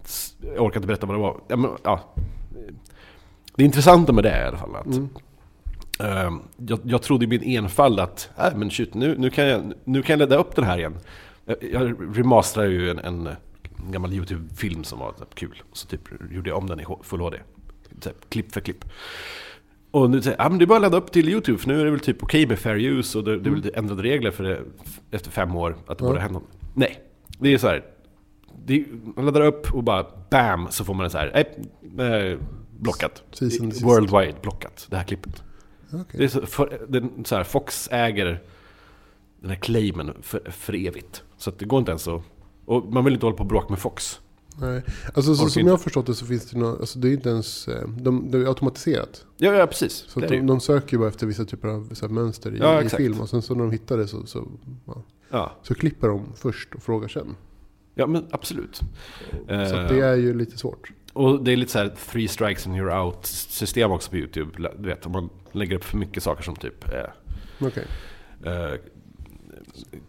[SPEAKER 2] s- Jag orkar inte berätta vad det var. Ja, men, ja. Det intressanta med det är i alla fall att
[SPEAKER 1] Mm.
[SPEAKER 2] eh, jag, jag trodde i min enfald att äh, men shit, nu, nu, kan jag, nu kan jag ladda upp den här igen. Jag, jag remasterade ju en, en gammal YouTube-film som var typ, kul. Så typ gjorde jag om den i H- Full HD. Typ, klipp för klipp. Och nu säger jag, ah, men det är bara att ladda upp till YouTube för nu är det väl typ okej med fair use och det, det är väl ändrade regler för det, f- efter fem år att det
[SPEAKER 1] Ja.
[SPEAKER 2] borde hända något." Nej, det är så här. Det, är- man laddar upp och bara BAM så får man en så här, nej, eh, blockat.
[SPEAKER 1] Precis som det sista.
[SPEAKER 2] Worldwide blockat, det här klippet.
[SPEAKER 1] Okej.
[SPEAKER 2] Det är så, för, det är så här, Fox äger den här claimen för, för evigt. Så att det går inte ens att... Och man vill inte hålla på och bråka med Fox.
[SPEAKER 1] Nej. Alltså, så,
[SPEAKER 2] Orkar
[SPEAKER 1] som
[SPEAKER 2] inte.
[SPEAKER 1] jag har förstått det så finns det någon, alltså, det är inte ens, eh, de, det är automatiserat.
[SPEAKER 2] Ja, ja precis.
[SPEAKER 1] Så
[SPEAKER 2] det
[SPEAKER 1] att
[SPEAKER 2] är det
[SPEAKER 1] de,
[SPEAKER 2] ju.
[SPEAKER 1] de söker ju bara efter vissa typer av så här, mönster i,
[SPEAKER 2] Ja,
[SPEAKER 1] i
[SPEAKER 2] exakt.
[SPEAKER 1] film. Och sen så när de hittar det så, så, ja.
[SPEAKER 2] Ja.
[SPEAKER 1] så klipper de först och frågar sen.
[SPEAKER 2] ja, men absolut.
[SPEAKER 1] Så
[SPEAKER 2] Eh,
[SPEAKER 1] att det är ju lite svårt.
[SPEAKER 2] Och det är lite så här three strikes and you're out system också på YouTube. Du vet, om man lägger upp för mycket saker som typ eh,
[SPEAKER 1] Okej.
[SPEAKER 2] eh,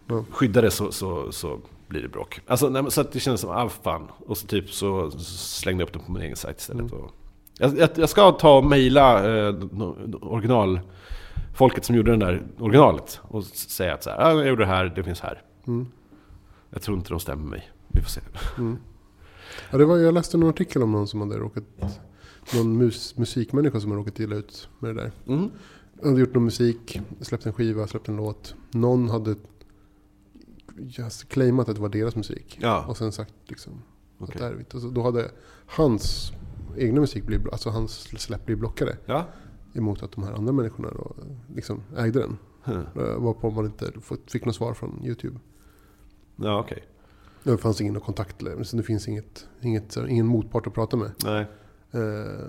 [SPEAKER 1] Ja.
[SPEAKER 2] skyddade så, så, så blir det bråk. Alltså, nej, men så att det kändes som, ah fan. Och så typ så slängde jag upp den på min egen sajt istället. Och jag, jag, jag ska ta och mejla eh, no- original folket som gjorde den där originalet och s- säga att så här, ah, jag gjorde det här, det finns här.
[SPEAKER 1] Mm.
[SPEAKER 2] Jag tror inte de stämmer mig. Vi får se.
[SPEAKER 1] Mm. Ja, det var, jag läste någon artikel om någon som hade råkat, någon mus, musikmänniska som hade råkat illa ut med det där.
[SPEAKER 2] Mm.
[SPEAKER 1] Han hade gjort någon musik, släppt en skiva, släppt en låt. Någon hade just claimat att det var deras musik.
[SPEAKER 2] Ja,
[SPEAKER 1] Och sen sagt liksom, att
[SPEAKER 2] okej.
[SPEAKER 1] det här är vitt. Och så, då hade hans egna musik blivit, blo- alltså hans släpp blivit blockade.
[SPEAKER 2] Ja.
[SPEAKER 1] Emot att de här andra människorna då, eh, liksom ägde den.
[SPEAKER 2] Huh.
[SPEAKER 1] Eh, Varpå man inte fått- fick något svar från YouTube.
[SPEAKER 2] Ja, okej.
[SPEAKER 1] Det fanns ingen kontakt längre, så det finns inget, inget, så här, ingen motpart att prata med.
[SPEAKER 2] Nej.
[SPEAKER 1] Eh,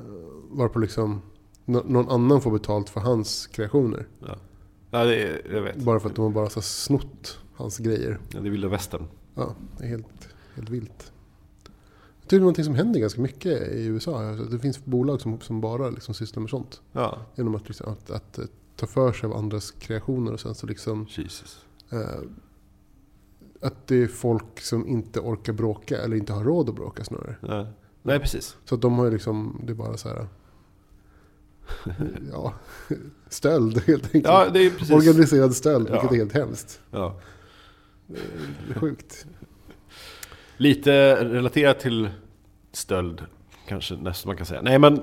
[SPEAKER 1] varpå liksom nå- någon annan får betalt för hans kreationer.
[SPEAKER 2] Ja, det är, jag vet.
[SPEAKER 1] Bara för att de har bara så här snott hans grejer.
[SPEAKER 2] Ja, det är vilda västern.
[SPEAKER 1] Ja, det är helt, helt vilt. Det är någonting som händer ganska mycket i USA. Alltså, Det finns bolag som, som bara liksom sysslar med sånt.
[SPEAKER 2] Ja.
[SPEAKER 1] Genom att, liksom, att, att eh, ta för sig av andras kreationer och sen så liksom
[SPEAKER 2] Jesus.
[SPEAKER 1] eh, att det är folk som inte orkar bråka eller inte har råd att bråka snarare.
[SPEAKER 2] Ja. Nej, precis.
[SPEAKER 1] Så att de har ju liksom, det är bara så här ja, stöld helt enkelt.
[SPEAKER 2] Ja, det är precis.
[SPEAKER 1] Organiserad stöld,
[SPEAKER 2] Ja.
[SPEAKER 1] vilket är helt hemskt.
[SPEAKER 2] Ja.
[SPEAKER 1] Det är Sjukt.
[SPEAKER 2] Lite relaterat till stöld, kanske nästan man kan säga. Nej, men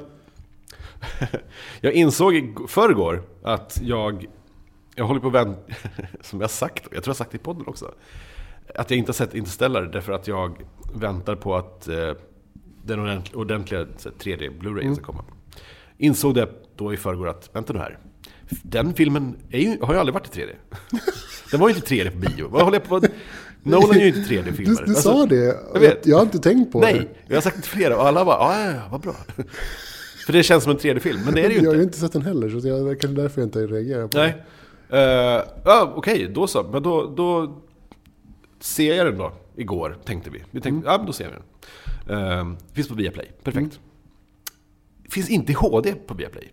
[SPEAKER 2] jag insåg i förrgår att jag, jag håller på att vänta, som jag sagt, jag tror jag har sagt det i podden också, att jag inte har sett Interstellar därför att jag väntar på att eh, den ordent- ordentliga så här, 3D Blu-rayen
[SPEAKER 1] Mm.
[SPEAKER 2] ska komma. Insåg det då i förrgår att, vänta nu här, den filmen är ju, har ju aldrig varit i 3D. Den var ju inte 3D på bio. Vad håller jag på Nolan är ju inte Alltså, 3D-filmare.
[SPEAKER 1] Du, du sa det,
[SPEAKER 2] jag vet.
[SPEAKER 1] jag har inte tänkt på
[SPEAKER 2] Nej,
[SPEAKER 1] det.
[SPEAKER 2] jag har sagt det till flera och alla bara "Ah, ja, ja, vad bra. För det känns som en 3D-film, men det är det ju
[SPEAKER 1] Jag har
[SPEAKER 2] inte.
[SPEAKER 1] ju inte sett den heller, så jag, det är kanske därför jag inte reagerar på
[SPEAKER 2] Nej. Eh, ja, Okej, då så. Men då, då ser jag den då, igår, tänkte vi. Vi tänkte, ja men då ser vi den. Eh, finns på Viaplay, perfekt. Finns inte i HD på Viaplay.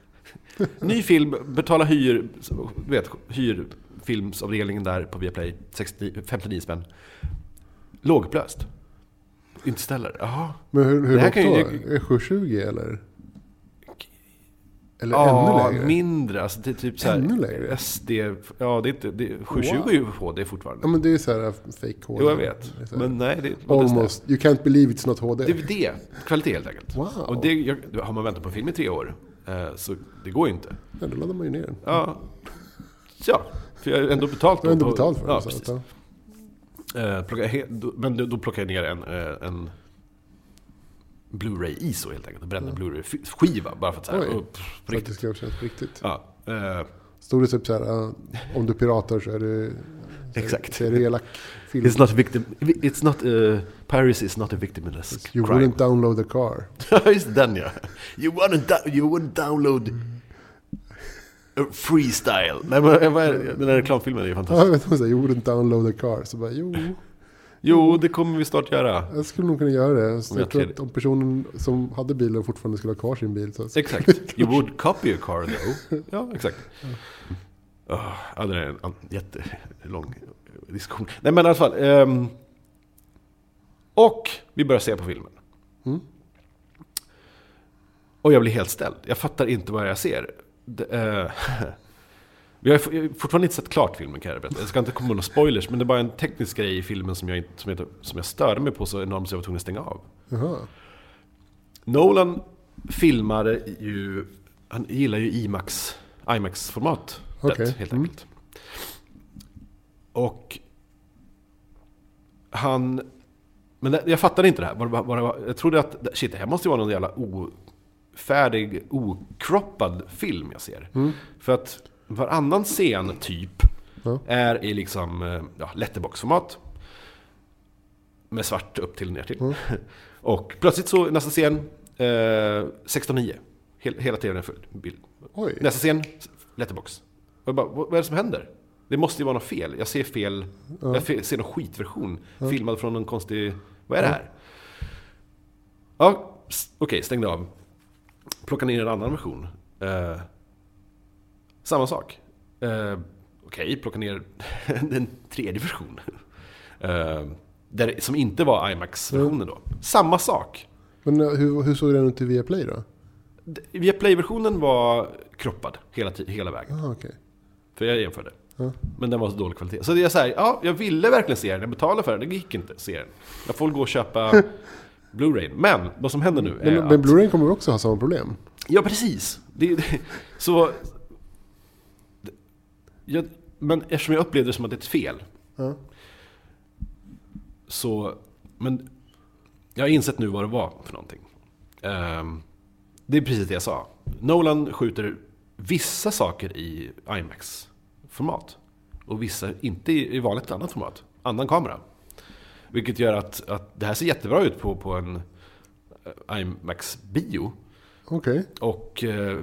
[SPEAKER 2] Ny film, betala hyr, du vet, hyrfilmsavdelningen där på Viaplay, 69 59 spänn. Lågupplöst. Inte ställer. Jaha.
[SPEAKER 1] det. Men hur, hur
[SPEAKER 2] Det här
[SPEAKER 1] lågt
[SPEAKER 2] kan
[SPEAKER 1] då?
[SPEAKER 2] ju-
[SPEAKER 1] Är 720 eller? Eller
[SPEAKER 2] ja,
[SPEAKER 1] ännu lägre?
[SPEAKER 2] mindre. Alltså det är typ så här,
[SPEAKER 1] Ännu lägre?
[SPEAKER 2] SD, ja det är inte, det, 720
[SPEAKER 1] Wow.
[SPEAKER 2] är ju HD fortfarande.
[SPEAKER 1] Ja men det är så här äh, fake HD.
[SPEAKER 2] jo jag vet. Men nej, det är
[SPEAKER 1] Almost. You can't believe it's not HD.
[SPEAKER 2] Det är det, kvalitet helt enkelt.
[SPEAKER 1] Wow.
[SPEAKER 2] Och det, jag, har man väntat på en film i tre år, eh, så det går ju inte.
[SPEAKER 1] Ja, då laddar man ju ner den.
[SPEAKER 2] Ja, ja för jag har ändå betalt
[SPEAKER 1] Du har ändå
[SPEAKER 2] på-
[SPEAKER 1] betalt för
[SPEAKER 2] ja,
[SPEAKER 1] den. så att,
[SPEAKER 2] precis.
[SPEAKER 1] ja.
[SPEAKER 2] Eh, plocka he- då, men då, då plockar jag ner en, eh, en Blu-ray ISO helt enkelt. Och brände en Blu-ray-skiva bara för att så här,
[SPEAKER 1] Oj.
[SPEAKER 2] upp, på
[SPEAKER 1] Så att det
[SPEAKER 2] riktigt.
[SPEAKER 1] ska kännas på riktigt.
[SPEAKER 2] Ja, eh,
[SPEAKER 1] Stod det typ så här, ja, om du piratar så är du...
[SPEAKER 2] Exakt.
[SPEAKER 1] Så är du elak. Film.
[SPEAKER 2] it's not a victim, it's not, eh, Paris is not a victimless
[SPEAKER 1] You
[SPEAKER 2] crime.
[SPEAKER 1] wouldn't download a car.
[SPEAKER 2] Just den ja. You wouldn't, dou- you wouldn't download a freestyle. Nej, men, vad är det? den här reklamfilmen är ju
[SPEAKER 1] Ja,
[SPEAKER 2] fantastisk.
[SPEAKER 1] jag vet inte, så här, you wouldn't download a car. Så bara, jo,
[SPEAKER 2] Jo, det kommer vi snart göra.
[SPEAKER 1] jag skulle nog kunna göra det. Så
[SPEAKER 2] Om jag
[SPEAKER 1] jag tror
[SPEAKER 2] tredje-
[SPEAKER 1] att om personen som hade bilen fortfarande skulle ha kvar sin bil. Så,
[SPEAKER 2] Exakt. You would copy a car though. alltså. Ja, exakt. Oh, ja, det är en an- jättelång diskussion. Nej, men i alla fall. ehm, och vi börjar se på filmen.
[SPEAKER 1] Mm.
[SPEAKER 2] Och jag blir helt ställd. Jag fattar inte vad jag ser. Det, eh, jag har f- jag har fortfarande inte sett klart filmen kan jag berätta. Jag ska inte komma med några spoilers, men det är bara en teknisk grej i filmen som jag, inte, som jag, som jag störde mig på så enormt så jag var tvungen att stänga av.
[SPEAKER 1] Jaha.
[SPEAKER 2] Nolan filmar ju, han gillar ju IMAX, IMAX-formatet
[SPEAKER 1] Okej.
[SPEAKER 2] helt
[SPEAKER 1] Mm.
[SPEAKER 2] enkelt. Och han, men det- jag fattade inte det här. Var, var, var, jag trodde att, shit det här måste ju vara någon jävla ofärdig, okroppad film jag ser. För att varannan scen typ
[SPEAKER 1] Ja.
[SPEAKER 2] är i liksom eh, ja, letterbox-format. Med svart upp till ner till. Och plötsligt så nästa scen, eh, 16.9. Hel, hela tvn är full bild.
[SPEAKER 1] Oj.
[SPEAKER 2] Nästa scen, letterbox. Och jag bara, vad vad är det som händer? Det måste ju vara något fel. Jag ser fel. Jag fe- ser någon skitversion. Filmad från någon konstig... Vad är det här? Ja, s- okej, stängde av. Plockade ner en annan version. Eh, samma sak. Eh, okej, plocka ner den tredje versionen. Eh, där, som inte var IMAX-versionen då. Samma sak.
[SPEAKER 1] Men eh, hur, hur såg den ut i Viaplay då?
[SPEAKER 2] D- Viaplay-versionen var kroppad hela, ti- hela vägen.
[SPEAKER 1] Jaha, okej.
[SPEAKER 2] Eh, För jag jämförde.
[SPEAKER 1] Ja.
[SPEAKER 2] Men den var så dålig kvalitet. Så det är så här, ja, jag ville verkligen se den. Jag betalade för den, det gick inte att se den. Jag får gå och köpa Blu-ray. Men vad som händer nu är
[SPEAKER 1] Men,
[SPEAKER 2] att...
[SPEAKER 1] men Blu-ray kommer också ha samma problem?
[SPEAKER 2] Ja, precis. Det, det, så... det- Jag, men eftersom jag upplevde det som att det är ett fel.
[SPEAKER 1] Ja.
[SPEAKER 2] Så... Men jag har insett nu vad det var för någonting. Ehm, det är precis det jag sa. Nolan skjuter vissa saker i IMAX-format. Och vissa inte i, i vanligt annat format. Annan kamera. Vilket gör att, att det här ser jättebra ut på, på en eh, IMAX-bio.
[SPEAKER 1] Okej.
[SPEAKER 2] och eh,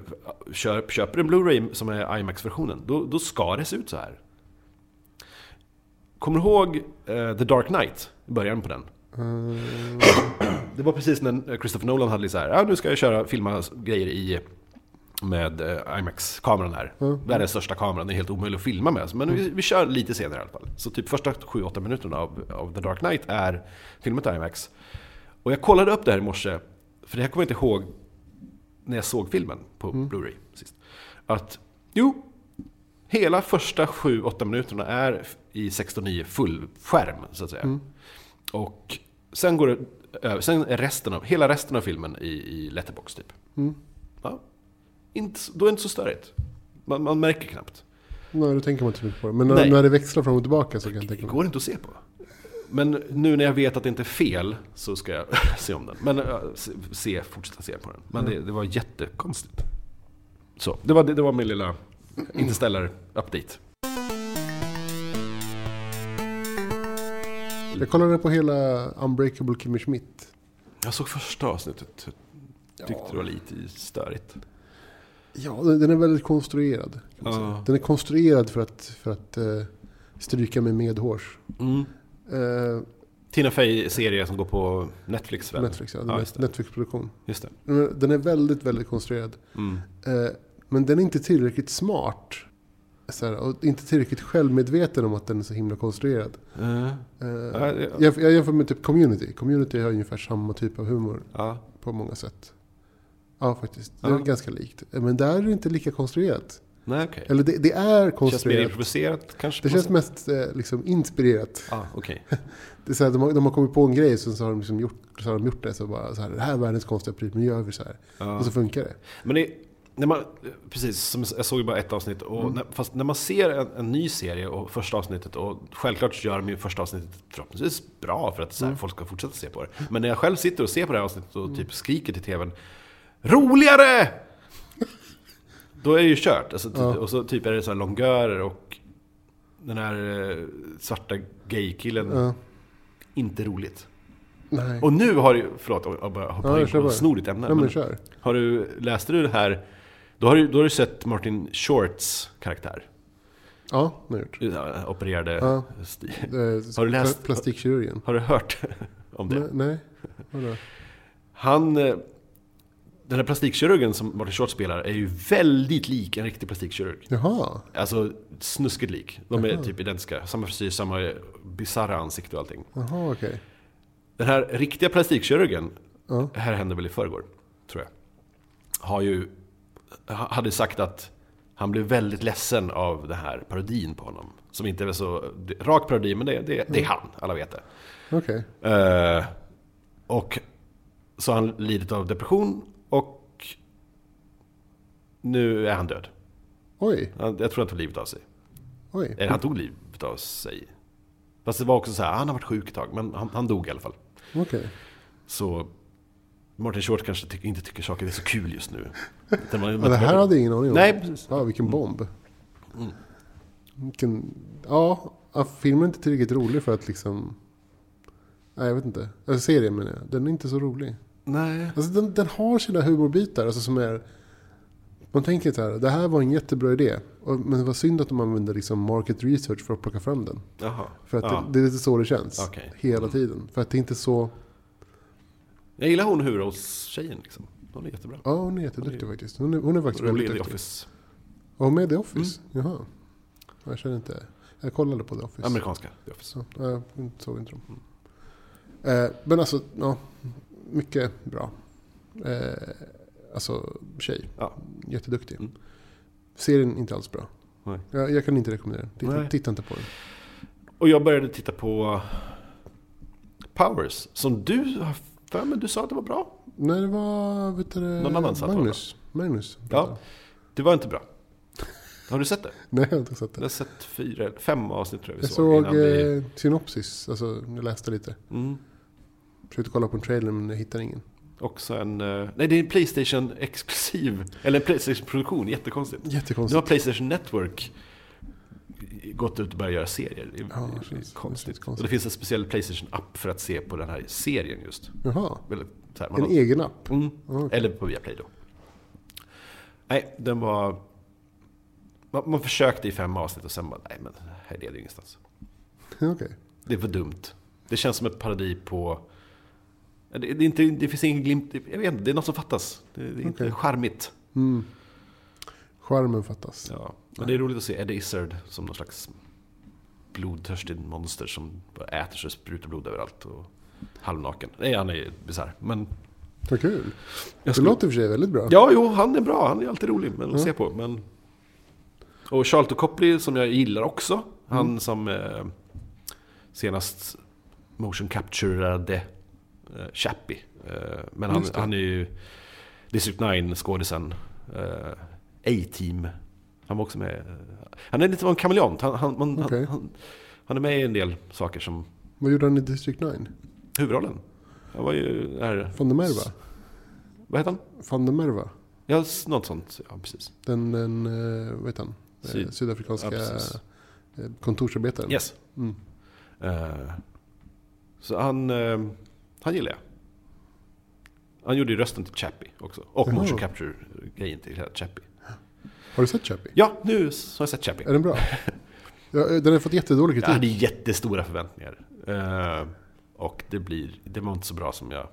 [SPEAKER 2] köp, köper en Blu-ray som är IMAX-versionen, då, då ska det se ut så här. Kommer du ihåg eh, The Dark Knight? I Början på den.
[SPEAKER 1] Eh,
[SPEAKER 2] Det var precis när Christopher Nolan hade lite så här, ja nu ska jag köra, filma grejer i med eh, IMAX-kameran här. Det här är den största kameran, det är helt omöjligt att filma med. Men vi, vi kör lite senare i alla fall. Så typ första 7-8 minuterna av, av The Dark Knight är filmat i IMAX. Och jag kollade upp det här i morse, för det här kommer jag inte ihåg när jag såg filmen på Blu-ray sist. Att, jo, hela första 7-8 minuterna är i 16.9 full skärm, så att säga. Och sen går det över, sen är resten av, hela resten av filmen i, i letterbox typ. Ja. Inte, så- då är det inte så störigt. Man, man märker knappt.
[SPEAKER 1] Nej, då tänker man inte så mycket på det. Men när,
[SPEAKER 2] Nej.
[SPEAKER 1] när det växlar fram och tillbaka så kan jag
[SPEAKER 2] Det
[SPEAKER 1] tänka mig.
[SPEAKER 2] går inte att se på. Men nu när jag vet att det inte är fel så ska jag se om den. Men äh, se- se, fortsätta se på den. Men det, det var jättekonstigt. Så, det var, det, det var min lilla Interstellar-update.
[SPEAKER 1] Jag kollade på hela Unbreakable Kimmy Schmidt.
[SPEAKER 2] Jag såg första avsnittet. Jag tyckte det var lite störigt.
[SPEAKER 1] Ja, den den är väldigt konstruerad. kan man
[SPEAKER 2] Ja.
[SPEAKER 1] säga. Den är konstruerad för att, för att eh, stryka mig medhårs. Eh,
[SPEAKER 2] Mm. Tina Fey-serie som går på Netflix väl?
[SPEAKER 1] Netflix, ja. Den
[SPEAKER 2] Ja,
[SPEAKER 1] är
[SPEAKER 2] just det.
[SPEAKER 1] Netflix-produktion.
[SPEAKER 2] Just det.
[SPEAKER 1] Men Den är väldigt, väldigt konstruerad.
[SPEAKER 2] Mm.
[SPEAKER 1] Eh, men den är inte tillräckligt smart. Så här, och inte tillräckligt självmedveten om att den är så himla konstruerad.
[SPEAKER 2] Eh,
[SPEAKER 1] Eh,
[SPEAKER 2] ja, det-
[SPEAKER 1] jag, jag jämför med typ Community. Community har ungefär samma typ av humor
[SPEAKER 2] ja.
[SPEAKER 1] på många sätt. Ja, faktiskt. Det är
[SPEAKER 2] Ja.
[SPEAKER 1] ganska likt. Eh, Men där är det inte lika konstruerat.
[SPEAKER 2] Nej, okej.
[SPEAKER 1] Eller det, det är
[SPEAKER 2] Känns mer
[SPEAKER 1] konstruerat.
[SPEAKER 2] improviserat kanske?
[SPEAKER 1] Det
[SPEAKER 2] på
[SPEAKER 1] känns
[SPEAKER 2] något
[SPEAKER 1] mest eh, liksom, inspirerat.
[SPEAKER 2] sätt? Ah, okej.
[SPEAKER 1] Det är så här, de, har, de har kommit på en grej så, så, har de liksom gjort, så har de gjort det. Så bara, så här, det här är världens konstiga pryl, nu gör vi så här.
[SPEAKER 2] Ja.
[SPEAKER 1] Och så funkar det.
[SPEAKER 2] Men det, när man, precis, som jag såg ju bara ett avsnitt. Och
[SPEAKER 1] Mm.
[SPEAKER 2] när, fast när man ser en, en ny serie och första avsnittet, och självklart så gör de ju första avsnittet förhoppningsvis bra för att
[SPEAKER 1] Mm.
[SPEAKER 2] så här, folk ska fortsätta se på det. Men när jag själv sitter och ser på det här avsnittet och typ skriker till tvn Roligare! Då är det ju kört. Alltså, typ,
[SPEAKER 1] Ja.
[SPEAKER 2] Och så typ är det så här longörer och den här eh, svarta gaykillen.
[SPEAKER 1] Ja.
[SPEAKER 2] Inte roligt.
[SPEAKER 1] Nej.
[SPEAKER 2] Mm. Och nu har du, förlåt om jag bara hoppar
[SPEAKER 1] Ja,
[SPEAKER 2] in
[SPEAKER 1] kör
[SPEAKER 2] på
[SPEAKER 1] bara.
[SPEAKER 2] ett snorigt ämne.
[SPEAKER 1] Nej,
[SPEAKER 2] men-
[SPEAKER 1] men kör.
[SPEAKER 2] har du, läste du det här? Då har du, då har du sett Martin Shorts karaktär.
[SPEAKER 1] Ja, nu har jag gjort.
[SPEAKER 2] Ja, Opererade
[SPEAKER 1] Ja.
[SPEAKER 2] stil.
[SPEAKER 1] Eh,
[SPEAKER 2] Har du läst-
[SPEAKER 1] pla- Plastikkirurgen.
[SPEAKER 2] Har du hört om det?
[SPEAKER 1] Nej. nej. Vadå?
[SPEAKER 2] Han, eh, den här plastikkirurgen som Martin Short spelar är ju väldigt lik en riktig plastikkirurg.
[SPEAKER 1] Jaha.
[SPEAKER 2] Alltså snuskigt lik. De är
[SPEAKER 1] Aha.
[SPEAKER 2] typ identiska. Samma frisyr, samma bisarra ansikte och allting.
[SPEAKER 1] Jaha, okej.
[SPEAKER 2] Den här riktiga plastikkirurgen,
[SPEAKER 1] Ja.
[SPEAKER 2] det här hände väl i förrgår, tror jag. Har ju, ha- hade sagt att han blev väldigt ledsen av den här parodin på honom. Som inte är så det- rak parodi, men det, det, det är han, alla vet det.
[SPEAKER 1] Okej.
[SPEAKER 2] Eh, och så har han lidit av depression och nu är han död.
[SPEAKER 1] Oj,
[SPEAKER 2] Han- Jag tror han tog livet av sig.
[SPEAKER 1] oj.
[SPEAKER 2] Eller han tog livet av sig. Fast det var också så här, "Ah, han har varit sjuk ett tag, men han, han dog i alla fall.
[SPEAKER 1] Okej.
[SPEAKER 2] Så Martin Short kanske ty- inte tycker saker är så kul just nu. Utan man-
[SPEAKER 1] Ja, det här hade jag ingen aning om.
[SPEAKER 2] Nej, precis. Mm.
[SPEAKER 1] Ja, vilken bomb. Vilken, ja, ja, filmen är inte tillräckligt rolig för att liksom... Nej, jag vet inte. Eller serien menar jag. Den är inte så rolig.
[SPEAKER 2] Nej.
[SPEAKER 1] Alltså den, den har sina humorbitar alltså som är... Man tänker så här, det här var en jättebra idé. Och, men det var synd att de använde liksom market research för att plocka fram den.
[SPEAKER 2] Jaha.
[SPEAKER 1] För att
[SPEAKER 2] Ja.
[SPEAKER 1] det, det är lite så det känns.
[SPEAKER 2] Okej.
[SPEAKER 1] Hela
[SPEAKER 2] Mm.
[SPEAKER 1] tiden. För att det är inte så...
[SPEAKER 2] Jag gillar hon huvudrollstjejen liksom. Hon är jättebra.
[SPEAKER 1] Ja, hon är jätteduktig faktiskt. Hon är, hon är faktiskt
[SPEAKER 2] Rolig
[SPEAKER 1] väldigt
[SPEAKER 2] i The
[SPEAKER 1] duktig.
[SPEAKER 2] Office.
[SPEAKER 1] Var hon med i The Office?
[SPEAKER 2] Mm.
[SPEAKER 1] Jaha. Jag känner inte. Jag kollade på The Office.
[SPEAKER 2] Amerikanska The Office.
[SPEAKER 1] Så, nej, jag såg inte dem. Eh, men alltså, ja. Mycket bra. Eh, alltså, tjej.
[SPEAKER 2] Ja.
[SPEAKER 1] Jätteduktig.
[SPEAKER 2] Mm.
[SPEAKER 1] Serien inte alls bra.
[SPEAKER 2] Nej.
[SPEAKER 1] Jag, jag kan inte rekommendera den. Titta,
[SPEAKER 2] Nej.
[SPEAKER 1] titta inte på den.
[SPEAKER 2] Och jag började titta på Powers. Som du har för mig, du sa att det var bra.
[SPEAKER 1] Nej, det var vet du, det,
[SPEAKER 2] Någon annan sa att det var
[SPEAKER 1] Magnus. Magnus.
[SPEAKER 2] Ja. Det var inte bra. Har du sett det?
[SPEAKER 1] Nej, jag har inte sett
[SPEAKER 2] Jag
[SPEAKER 1] det.
[SPEAKER 2] har sett fyra, eller fem avsnitt tror jag vi
[SPEAKER 1] Jag
[SPEAKER 2] såg.
[SPEAKER 1] såg
[SPEAKER 2] innan vi-
[SPEAKER 1] eh, synopsis, alltså jag läste lite.
[SPEAKER 2] Mm.
[SPEAKER 1] Försökte kolla på en trailer men jag hittade ingen.
[SPEAKER 2] Också en... eh, Nej, det är en Playstation-exklusiv. Eller en Playstation-produktion, jättekonstigt. Nu har
[SPEAKER 1] Jättekonstigt.
[SPEAKER 2] Playstation Network gått ut och börjat göra serier. Det är
[SPEAKER 1] Ja,
[SPEAKER 2] det är
[SPEAKER 1] det känns- det
[SPEAKER 2] konstigt.
[SPEAKER 1] känns konstigt.
[SPEAKER 2] Och det finns en speciell Playstation-app för att se på den här serien just.
[SPEAKER 1] Jaha,
[SPEAKER 2] Eller, så här, man
[SPEAKER 1] en e-
[SPEAKER 2] har,
[SPEAKER 1] egen app.
[SPEAKER 2] mm,
[SPEAKER 1] Ja, okej.
[SPEAKER 2] eller på Viaplay då. Nej, den var... Man, man försökte i fem avsnitt och sen bara, nej men här leder ju ingenstans.
[SPEAKER 1] Okej.
[SPEAKER 2] Det är för dumt. Det känns som ett parodi på... Det, det, är inte, det finns ingen glimt, jag vet inte, det är något som fattas. Det, det är inte
[SPEAKER 1] Okej.
[SPEAKER 2] charmigt.
[SPEAKER 1] Mm. Charmen fattas.
[SPEAKER 2] Ja, men det är roligt att se Eddie Izzard som någon slags blodtörstig monster som bara äter sig och sprutar blod överallt och halvnaken. Nej, han är bisarr. Men
[SPEAKER 1] Vad kul.
[SPEAKER 2] jag
[SPEAKER 1] Det låter i och för sig väldigt bra.
[SPEAKER 2] Ja, jo, han är bra. Han är alltid rolig men
[SPEAKER 1] Mm.
[SPEAKER 2] att se på. Men... Och Charlton Copley som jag gillar
[SPEAKER 1] Mm.
[SPEAKER 2] också. Han som eh, senast motion capturerade eh, Chappie. Eh, men han,
[SPEAKER 1] Just det.
[SPEAKER 2] han är ju District 9-skådisen. Eh, A-team. Han var också med. eh, Han är lite av en kameleont. Han, han, man,
[SPEAKER 1] Okej.
[SPEAKER 2] han, han, han är med i en del saker som
[SPEAKER 1] Vad gjorde han i District 9?
[SPEAKER 2] huvudrollen. Han var ju den här...
[SPEAKER 1] Van der Merva?
[SPEAKER 2] Vad heter han?
[SPEAKER 1] Van der Merva?
[SPEAKER 2] Ja, s- något sånt. Ja, precis.
[SPEAKER 1] Den, den eh, vad heter han? Eh,
[SPEAKER 2] Syd-
[SPEAKER 1] Sydafrikanska
[SPEAKER 2] ja, precis.
[SPEAKER 1] eh, kontorsarbetaren?
[SPEAKER 2] Yes.
[SPEAKER 1] Mm.
[SPEAKER 2] Eh, så han, eh, han gillar jag. Han gjorde ju rösten till Chappie också. Och
[SPEAKER 1] Jaha.
[SPEAKER 2] motion capture-grejen till hela Chappie.
[SPEAKER 1] Har du sett Chappie?
[SPEAKER 2] Ja, nu s- har jag sett
[SPEAKER 1] Är
[SPEAKER 2] Chappie.
[SPEAKER 1] den bra? ja, eh, den har fått jättedålig
[SPEAKER 2] Jag
[SPEAKER 1] kritik.
[SPEAKER 2] hade jättestora förväntningar. Eh, och det, blir, det var inte så bra som jag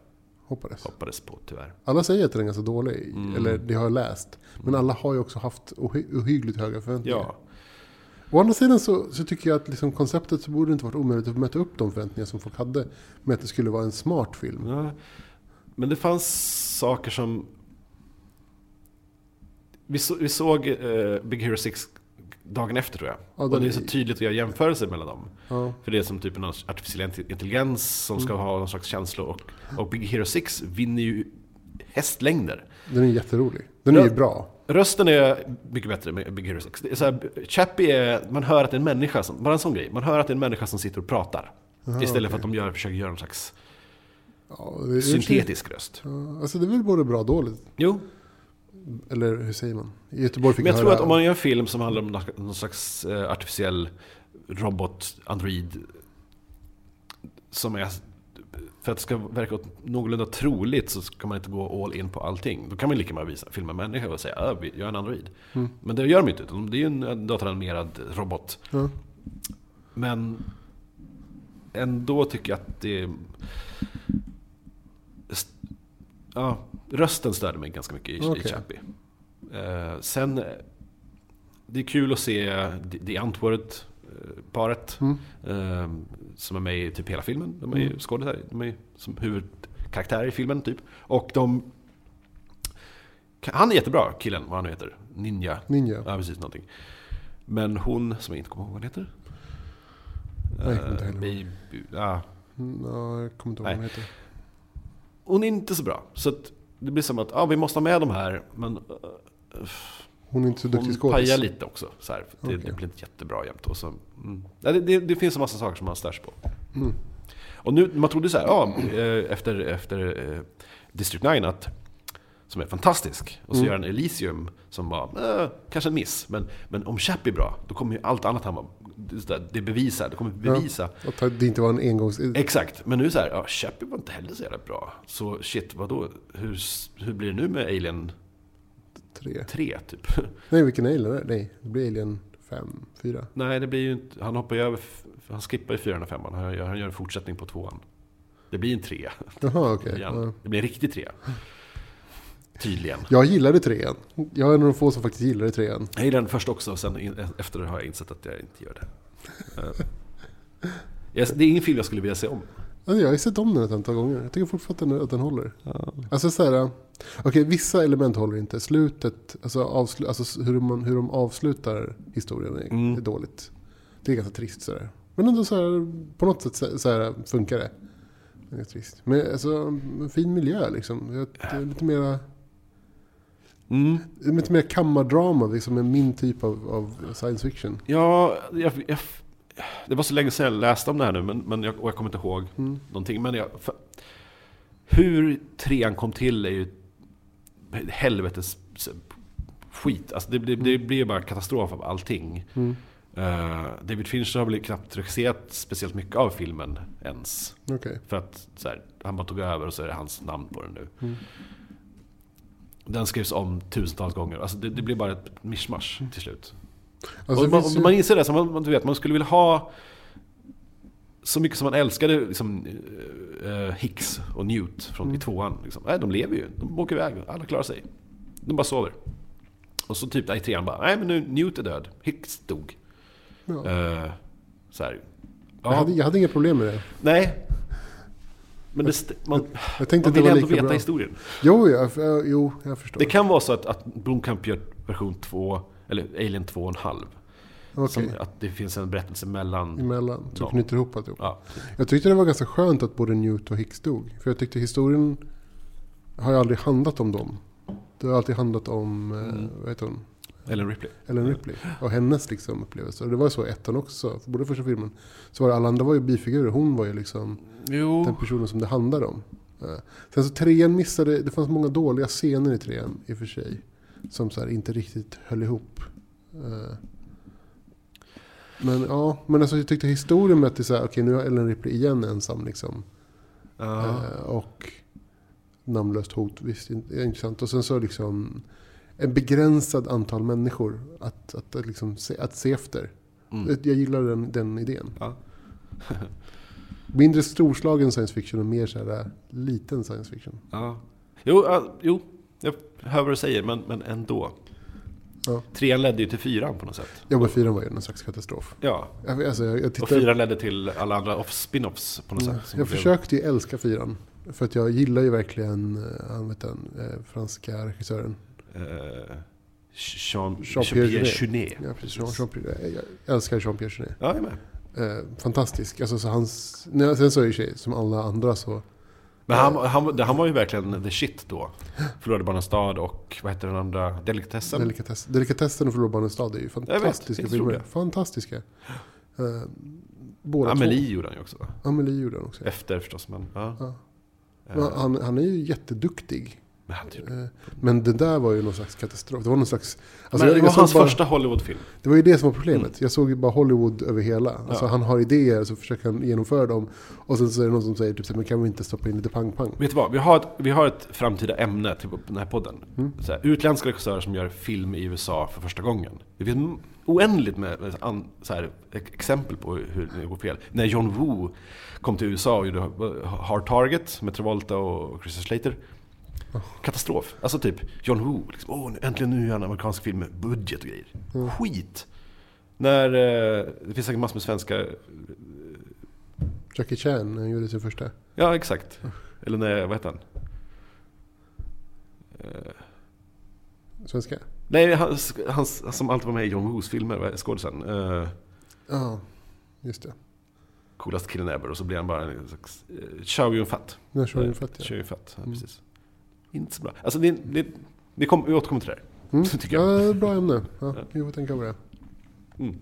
[SPEAKER 1] Hoppades.
[SPEAKER 2] hoppades på tyvärr.
[SPEAKER 1] Alla säger att den är ganska dålig,
[SPEAKER 2] Mm.
[SPEAKER 1] eller det har jag läst. Men alla har ju också haft ohy- ohyggligt höga förväntningar.
[SPEAKER 2] Ja,
[SPEAKER 1] Å andra sidan så, så tycker jag att liksom konceptet så borde det inte varit omöjligt att möta upp de förväntningar som folk hade Mm. med att det skulle vara en smart film.
[SPEAKER 2] Nej. Men det fanns saker som vi, så, vi såg eh, Big Hero 6 dagen efter tror jag.
[SPEAKER 1] Ja,
[SPEAKER 2] och
[SPEAKER 1] den-
[SPEAKER 2] det är så tydligt att göra jämförelser mellan dem.
[SPEAKER 1] Ja.
[SPEAKER 2] För det är som typ en artificiell inte- intelligens som
[SPEAKER 1] Mm.
[SPEAKER 2] ska ha någon slags känslor. Och, och Big Hero 6 vinner ju hästlängder.
[SPEAKER 1] Den är jätterolig. Den är
[SPEAKER 2] Ja.
[SPEAKER 1] ju bra.
[SPEAKER 2] Rösten är mycket bättre med Big Hero 6. Det är så här, Chappie är, man hör att det är en människa som, bara en sån grej, man hör att det är en människa som sitter och pratar. istället för att de gör, försöker göra någon slags
[SPEAKER 1] Ja, det är-
[SPEAKER 2] syntetisk röst.
[SPEAKER 1] Ja, alltså det är väl både bra och dåligt.
[SPEAKER 2] Jo,
[SPEAKER 1] Eller hur säger man? I Göteborg fick
[SPEAKER 2] men jag
[SPEAKER 1] jag
[SPEAKER 2] tror
[SPEAKER 1] höra...
[SPEAKER 2] att om man gör en film som handlar om någon- någon slags eh, artificiell robot, android, som är... För att det ska verka åt- någorlunda troligt så ska man inte gå all in på allting. Då kan man ju lika gärna visa, filma en människa och säga "Ah, vi- jag är en android.
[SPEAKER 1] Mm.
[SPEAKER 2] Men det gör de ju inte, utan det är ju en- en datoranimerad robot.
[SPEAKER 1] Ja.
[SPEAKER 2] Men ändå tycker jag att det... St- Ja, rösten störde mig ganska mycket i,
[SPEAKER 1] Okej.
[SPEAKER 2] i Chappie. Eh, sen, eh, det är kul att se The- The Antwoord-paret.
[SPEAKER 1] Mm.
[SPEAKER 2] eh, som är med i typ hela filmen. De är ju
[SPEAKER 1] Mm.
[SPEAKER 2] skådisar, de är ju som huvudkaraktärer i filmen typ. Och de... Han är jättebra, killen, vad han nu heter. Ninja
[SPEAKER 1] Ninja.
[SPEAKER 2] Ja, precis. Någonting. Men hon, som jag inte kommer ihåg vad hon heter.
[SPEAKER 1] Nej, jag kommer inte
[SPEAKER 2] Eh,
[SPEAKER 1] heller
[SPEAKER 2] Bi- bi- ja.
[SPEAKER 1] Mm, Ja, jag kommer inte ihåg vad den heter.
[SPEAKER 2] Hon är inte så bra. Så att det blir som att ja, vi måste ha med de här, men eh,
[SPEAKER 1] Hon är inte så duktig
[SPEAKER 2] hon pajar
[SPEAKER 1] skådis.
[SPEAKER 2] lite också. Så här, för det,
[SPEAKER 1] Okej.
[SPEAKER 2] det blir inte jättebra jämt. Och så, mm. Nej, det, det, det finns en massa saker som man störs på.
[SPEAKER 1] Mm.
[SPEAKER 2] Och nu, man trodde så här, ja, eh, efter, efter eh, District 9 att som är fantastisk. Och så
[SPEAKER 1] Mm.
[SPEAKER 2] gör han Elysium som var eh, kanske en miss. Men, men om Chappie är bra, då kommer ju allt annat han var, det, så där, det bevisar, det kommer bevisa.
[SPEAKER 1] Att det inte var en engångs...
[SPEAKER 2] Exakt, men nu så här, ja, Chappie var inte heller så jävla bra. Så shit, vadå? Hur, s- hur blir det nu med Alien
[SPEAKER 1] Tre.
[SPEAKER 2] 3 typ?
[SPEAKER 1] Nej, vilken alien är det? Nej, det blir alien fem, fyra.
[SPEAKER 2] Nej, det blir ju inte, han hoppar ju över, f- han skippar ju 4 och 5 han gör, han gör en fortsättning på 2 Det blir en 3
[SPEAKER 1] Jaha, okej. Ja.
[SPEAKER 2] igen. Det blir en riktig 3 Tydligen.
[SPEAKER 1] Jag gillade trean. Jag är en av de få som faktiskt gillade trean.
[SPEAKER 2] Jag gillade den först också, och sen in, efter har jag insett att jag inte gör det. Eh, jag- Det är ingen film jag skulle vilja se om.
[SPEAKER 1] Alltså, jag har ju sett om den ett antal gånger. Jag tycker fortfarande att den, att den håller. Alltså så här, okej vissa element håller inte. Slutet, alltså, avslu, alltså s- hur, man, hur de avslutar historien är,
[SPEAKER 2] Mm.
[SPEAKER 1] är dåligt. Det är ganska trist sådär. Men ändå så här, på något sätt så så här, funkar det. Det är trist. Men alltså, en fin miljö liksom. Jag- det är Lite mera,
[SPEAKER 2] Mm.
[SPEAKER 1] lite mer kammardrama, liksom är min typ av, av science fiction.
[SPEAKER 2] Ja, jag, jag, det var så länge sedan jag läste om det här nu, men, men jag, och jag kommer inte ihåg
[SPEAKER 1] Mm.
[SPEAKER 2] någonting. Men jag, för, hur trean kom till är ju helvetes skit. Alltså det, det, det blir ju bara katastrof av allting.
[SPEAKER 1] Mm.
[SPEAKER 2] Eh, David Fincher har väl knappt regisserat speciellt mycket av filmen ens.
[SPEAKER 1] Okej.
[SPEAKER 2] För att så här, han bara tog över och så är det hans namn på den nu.
[SPEAKER 1] Mm.
[SPEAKER 2] Den skrivs om tusentals gånger. Alltså det, det blir bara ett mischmasch till slut
[SPEAKER 1] Alltså, det
[SPEAKER 2] och man,
[SPEAKER 1] finns
[SPEAKER 2] om man inser det, så man, man, du vet, man skulle vilja ha så mycket som man älskade liksom, eh, Hicks och Newt från
[SPEAKER 1] Mm.
[SPEAKER 2] i tvåan. Liksom. Nej, de lever ju. De åker iväg. Alla klarar sig. De bara sover. Och så typ där i trean bara, nej men nu, Newt är död. Hicks dog.
[SPEAKER 1] ju, ja.
[SPEAKER 2] Eh, så här.
[SPEAKER 1] jag,
[SPEAKER 2] Ja,
[SPEAKER 1] hade, jag hade inga problem med det.
[SPEAKER 2] nej. Men det, st- man,
[SPEAKER 1] Jag tänkte
[SPEAKER 2] man
[SPEAKER 1] att det
[SPEAKER 2] vill
[SPEAKER 1] var
[SPEAKER 2] ändå
[SPEAKER 1] lika
[SPEAKER 2] veta
[SPEAKER 1] bra.
[SPEAKER 2] historien.
[SPEAKER 1] Jo, jag, jag, jo, jag förstår.
[SPEAKER 2] Det kan vara så att, att Blomkamp gör version 2, eller Alien 2,5.
[SPEAKER 1] Okej. Mm.
[SPEAKER 2] Som Att det finns en berättelse mellan...
[SPEAKER 1] emellan. Så
[SPEAKER 2] Ja.
[SPEAKER 1] knyter ihop alltihop.
[SPEAKER 2] Ja,
[SPEAKER 1] Jag tyckte det var ganska skönt att både Newt och Hicks dog. För jag tyckte historien har ju aldrig handlat om dem. Det har alltid handlat om,
[SPEAKER 2] Mm.
[SPEAKER 1] mm. vad heter hon?
[SPEAKER 2] Ellen Ripley.
[SPEAKER 1] Ellen Ripley. Och hennes liksom upplevelse. Och det var ju så i ettan också. För både första filmen så var det, alla andra var ju bifigurer. Hon var ju liksom
[SPEAKER 2] Jo.
[SPEAKER 1] den personen som det handlade om. Eh, Sen så trean missade, det fanns många dåliga scener i trean i och för sig. Som så här inte riktigt höll ihop. Eh, Men ja, men alltså jag tyckte historien med att det är så här, okej nu har Ellen Ripley igen ensam liksom.
[SPEAKER 2] Ja.
[SPEAKER 1] Eh, Och namnlöst hot, visst det är intressant. Och sen så liksom en begränsad antal människor att, att, att, liksom se, att se efter.
[SPEAKER 2] Mm.
[SPEAKER 1] Jag gillar den, den idén.
[SPEAKER 2] Ja.
[SPEAKER 1] Mindre storslagen science fiction och mer så här äh, liten science fiction.
[SPEAKER 2] Ja. Jo, ja, jo, jag hör vad du säger, men, men ändå.
[SPEAKER 1] Ja.
[SPEAKER 2] Trean ledde ju till fyran på något sätt.
[SPEAKER 1] Ja men fyran var ju någon slags katastrof.
[SPEAKER 2] Ja,
[SPEAKER 1] Jag, alltså, jag, jag
[SPEAKER 2] och
[SPEAKER 1] tittar,
[SPEAKER 2] fyran ledde till alla andra off- spin-offs på något
[SPEAKER 1] Mm.
[SPEAKER 2] sätt. som
[SPEAKER 1] jag
[SPEAKER 2] blev-
[SPEAKER 1] försökte ju älska fyran. För att äh, jag gillar ju verkligen, eh, han vet den, eh, franska regissören.
[SPEAKER 2] Eh, Jean-
[SPEAKER 1] Jean-Pierre
[SPEAKER 2] Jean-Pierre
[SPEAKER 1] Jeunet.
[SPEAKER 2] Jeunet.
[SPEAKER 1] Ja, precis. Jean,
[SPEAKER 2] Precis.
[SPEAKER 1] Jean Pierre, jag älskar Jean-Pierre Genet.
[SPEAKER 2] Ja, jag är med.
[SPEAKER 1] Eh, fantastisk. Alltså, så hans, nej, sen så är ju tjej, som alla andra så...
[SPEAKER 2] Men han, han, han var ju verkligen the shit då. Förlorade Barnas stad och vad heter den andra? Delikatessen.
[SPEAKER 1] Delikatess, delikatessen och Förlorad stad är ju fantastiska
[SPEAKER 2] jag tror
[SPEAKER 1] filmer.
[SPEAKER 2] det.
[SPEAKER 1] Fantastiska. Eh, båda två.
[SPEAKER 2] Amelie gjorde han ju också. va?
[SPEAKER 1] Amelie gjorde han också. ja.
[SPEAKER 2] Efter förstås, men ja.
[SPEAKER 1] Ja. Men
[SPEAKER 2] Eh,
[SPEAKER 1] Han, han är ju jätteduktig.
[SPEAKER 2] Men han tyckte-
[SPEAKER 1] Eh, Men det där var ju någon slags katastrof. Det var någon slags... Alltså
[SPEAKER 2] Men
[SPEAKER 1] jag-
[SPEAKER 2] det
[SPEAKER 1] jag
[SPEAKER 2] var
[SPEAKER 1] såg
[SPEAKER 2] hans
[SPEAKER 1] bara-
[SPEAKER 2] första Hollywoodfilm.
[SPEAKER 1] Det var ju det som var problemet.
[SPEAKER 2] Mm.
[SPEAKER 1] Jag såg ju bara Hollywood över hela. Alltså,
[SPEAKER 2] Ja.
[SPEAKER 1] Han har idéer så försöker han genomföra dem. Och sen så är det någon som säger typ så här, men kan vi inte stoppa in lite pang-pang?
[SPEAKER 2] Vet du vad? Vi har ett, vi har ett framtida ämne till den här podden.
[SPEAKER 1] Mm.
[SPEAKER 2] Så här, utländska regissörer som gör film i USA för första gången. Det finns m- oändligt med med an, så här, ex- exempel på hur det går fel. När John Woo kom till USA och gjorde eh, Hard Target med Travolta och Christer Slater. Katastrof. Alltså typ John Woo. Liksom, Åh, nu- äntligen nu gör han en amerikansk film med budget och grejer.
[SPEAKER 1] Mm.
[SPEAKER 2] Skit! När, eh, det finns säkert massor med svenska
[SPEAKER 1] Jackie Chan, han gjorde sin första.
[SPEAKER 2] Ja, exakt. Eller när, vad heter han? Eh,
[SPEAKER 1] Svenska?
[SPEAKER 2] nej, han, han som alltid var med i John Woos filmer, vad är skådisen. Eh,
[SPEAKER 1] Ja, just det.
[SPEAKER 2] coolast killen ever och så blir han bara en slags... Uh, Chow Yun-Fat.
[SPEAKER 1] När kör
[SPEAKER 2] Eh,
[SPEAKER 1] du fatt
[SPEAKER 2] Chow Yun-Fat, ja,
[SPEAKER 1] Mm.
[SPEAKER 2] precis. Inte så bra. Alltså, det, det, det kom, vi återkommer till det där.
[SPEAKER 1] Mm.
[SPEAKER 2] tycker
[SPEAKER 1] Ja,
[SPEAKER 2] jag.
[SPEAKER 1] det är bra ämne. Ja,
[SPEAKER 2] Ja.
[SPEAKER 1] vi får tänka på det.
[SPEAKER 2] Mm.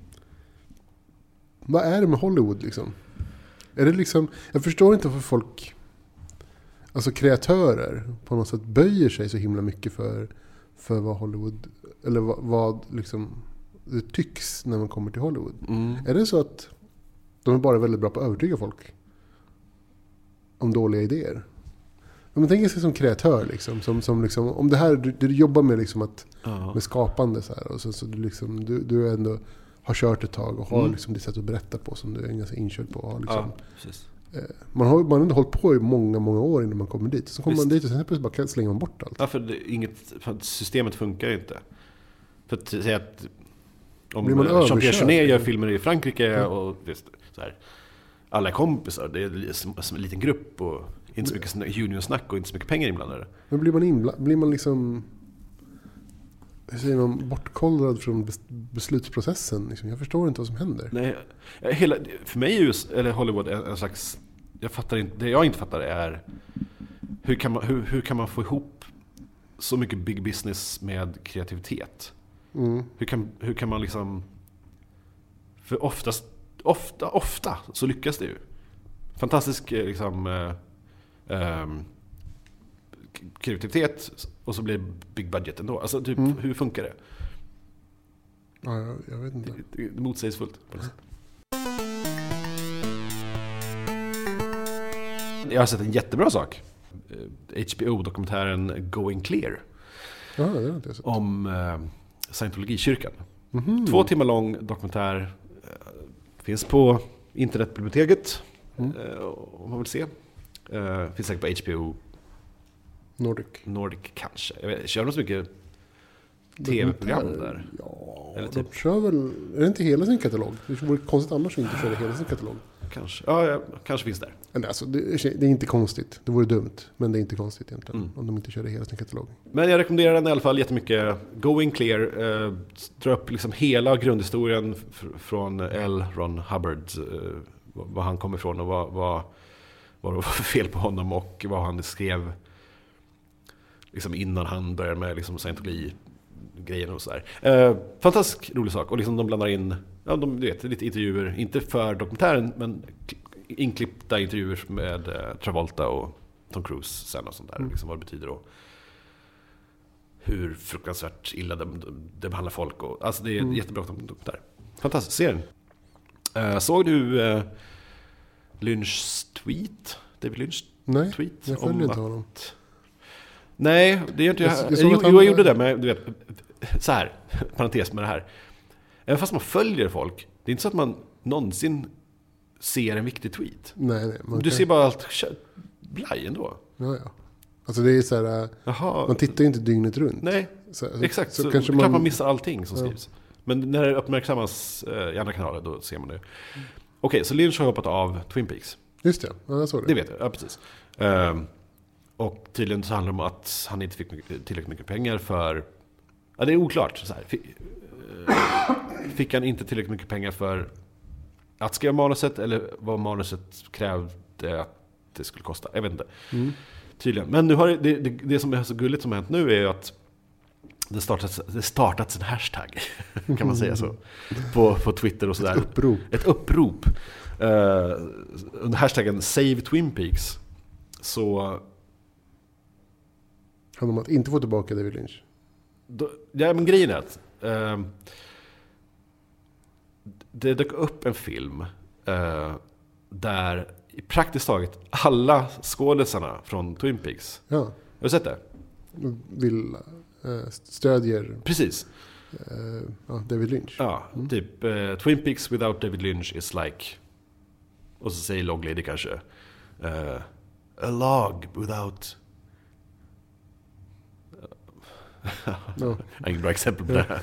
[SPEAKER 1] Vad är det med Hollywood liksom? Är det liksom? Jag förstår inte varför folk, alltså kreatörer, på något sätt böjer sig så himla mycket för, för vad Hollywood, eller vad, vad liksom det tycks när man kommer till Hollywood. Är det så att de är bara väldigt bra på att övertyga folk om dåliga idéer? Ja, Men tänk sig som kreatör, liksom, som, som liksom, om det här du, du jobbar med liksom att
[SPEAKER 2] Ja.
[SPEAKER 1] med skapande så här. Och så, så du, liksom, du, du ändå har kört ett tag och har
[SPEAKER 2] Mm.
[SPEAKER 1] liksom ditt sätt att berätta på som du är ganska inkörd på. och har Liksom.
[SPEAKER 2] ja, precis.
[SPEAKER 1] Man har ju- man har ändå hållit på i många, många år innan man kommer dit. Så kommer man
[SPEAKER 2] Visst.
[SPEAKER 1] dit och sen helt plötsligt bara kan- slänger man bort allt.
[SPEAKER 2] Ja, för, det, är inget, för att systemet funkar ju inte. För att säga att om
[SPEAKER 1] Blir man
[SPEAKER 2] eh,
[SPEAKER 1] överkörd?
[SPEAKER 2] Jean-Pierre Jeunet gör filmer i Frankrike
[SPEAKER 1] Ja.
[SPEAKER 2] och det, är så här, alla är kompisar, det är li- som, som en liten grupp och inte så mycket sn- juniorsnack och inte så mycket pengar inblandade.
[SPEAKER 1] Men blir man inbla- blir man liksom... Hur säger man? Bortkollrad från bes- beslutsprocessen. Liksom. Jag förstår inte vad som händer.
[SPEAKER 2] Nej, eh, hela, för mig är ju s- eller Hollywood en, en slags, jag fattar inte, det jag inte fattar är hur kan, man, hur, hur kan man få ihop så mycket big business med kreativitet?
[SPEAKER 1] Mm.
[SPEAKER 2] Hur kan, hur kan man liksom... För oftast, ofta, ofta så lyckas det ju. Fantastisk eh, liksom, eh, ehm, k- kreativitet och så blir det big budget ändå. Alltså typ,
[SPEAKER 1] Mm.
[SPEAKER 2] hur funkar det?
[SPEAKER 1] Ja, jag, jag vet inte.
[SPEAKER 2] Det, det, det är motsägelsefullt. på något sätt. Jag har sett en jättebra sak. Eh, HBO-dokumentären Going Clear
[SPEAKER 1] Ja, det har inte jag sett.
[SPEAKER 2] om eh, scientologikyrkan.
[SPEAKER 1] Mhm.
[SPEAKER 2] Två timmar lång dokumentär. eh, Finns på internetbiblioteket.
[SPEAKER 1] Mm.
[SPEAKER 2] eh, Om man vill se. Eh, Finns säkert på HBO
[SPEAKER 1] Nordic.
[SPEAKER 2] Nordic kanske. Jag vet, kör de så mycket tv-program där?
[SPEAKER 1] Ja,
[SPEAKER 2] Eller
[SPEAKER 1] de
[SPEAKER 2] typ-
[SPEAKER 1] kör väl... Är det inte hela sin katalog? Det vore konstigt annars att inte köra hela sin katalog.
[SPEAKER 2] Kanske. Ja, ja, kanske finns där.
[SPEAKER 1] Eller alltså, det, det är inte konstigt. Det vore dumt. Men det är inte konstigt egentligen.
[SPEAKER 2] Mm.
[SPEAKER 1] Om de inte körde hela sin katalog.
[SPEAKER 2] Men jag rekommenderar den i alla fall jättemycket. Going Clear eh, drar upp liksom hela grundhistorien fr- från L. Ron Hubbard. Eh, var han kom ifrån och vad, vad, vad det var för fel på honom och vad han skrev liksom innan han började med liksom scientologi-grejen och sådär. Eh, fantastisk rolig sak. Och liksom de blandar in ja, de, du vet, lite intervjuer, inte för dokumentären, men k- inklippta intervjuer med eh, Travolta och Tom Cruise sen och sånt där.
[SPEAKER 1] Mm.
[SPEAKER 2] Liksom vad det betyder och hur fruktansvärt illa det de, de behandlar folk. Och, alltså det är
[SPEAKER 1] Mm.
[SPEAKER 2] mm. jättebra dokumentär. Fantastisk, se den. Eh, såg du eh, Lynchs tweet? David Lynchs
[SPEAKER 1] Nej,
[SPEAKER 2] tweet?
[SPEAKER 1] jag
[SPEAKER 2] om
[SPEAKER 1] följer
[SPEAKER 2] att-
[SPEAKER 1] inte honom.
[SPEAKER 2] Nej, det gör inte jag.
[SPEAKER 1] Jag- jag
[SPEAKER 2] jag,
[SPEAKER 1] såg
[SPEAKER 2] jo,
[SPEAKER 1] att han-
[SPEAKER 2] jag gjorde det, men du vet, så här, parentes med det här. Även fast man följer folk, det är inte så att man någonsin ser en viktig tweet.
[SPEAKER 1] Nej, nej. man
[SPEAKER 2] Du
[SPEAKER 1] kan-
[SPEAKER 2] ser bara allt kö- blaj ändå.
[SPEAKER 1] Ja, ja. Alltså det är så här, äh,
[SPEAKER 2] Jaha,
[SPEAKER 1] man tittar ju inte dygnet runt.
[SPEAKER 2] nej,
[SPEAKER 1] Alltså, Så,
[SPEAKER 2] exakt. Så,
[SPEAKER 1] kanske
[SPEAKER 2] klart
[SPEAKER 1] man...
[SPEAKER 2] man missar allting som
[SPEAKER 1] Ja.
[SPEAKER 2] skrivs. Men när det uppmärksammas eh, i andra kanaler, då ser man det. Okej, så Lynch har hoppat av Twin Peaks.
[SPEAKER 1] Just det, ja, jag såg det.
[SPEAKER 2] Det vet jag, ja precis. Ehm, och tydligen så handlar det om att han inte fick mycket- tillräckligt mycket pengar för Ja, det är oklart. Så här. Fi- eh, Fick han inte tillräckligt mycket pengar för att skriva manuset eller vad manuset krävde att det skulle kosta? Jag vet inte.
[SPEAKER 1] Mm.
[SPEAKER 2] Tydligen. Men nu har det, det, det, det som är så gulligt som har hänt nu är ju att det startats, det startats en hashtag, kan man säga så, på, på Twitter och sådär.
[SPEAKER 1] Upprop.
[SPEAKER 2] Ett upprop. eh, under hashtaggen Save Twin Peaks. Så
[SPEAKER 1] Handlar om att inte få tillbaka David Lynch.
[SPEAKER 2] Då, ja, men grejen är att ehm, det dök upp en film eh, där i praktiskt taget alla skådisarna från Twin Peaks,
[SPEAKER 1] Ja.
[SPEAKER 2] har du sett det?
[SPEAKER 1] Vill, eh, stödjer
[SPEAKER 2] Precis.
[SPEAKER 1] eh, ja, David Lynch.
[SPEAKER 2] Ja,
[SPEAKER 1] Mm.
[SPEAKER 2] typ eh, Twin Peaks without David Lynch is like... Och så säger Log Lady kanske. eh, a log without...
[SPEAKER 1] Ja.
[SPEAKER 2] Jag har eh, inget bra exempel på det här.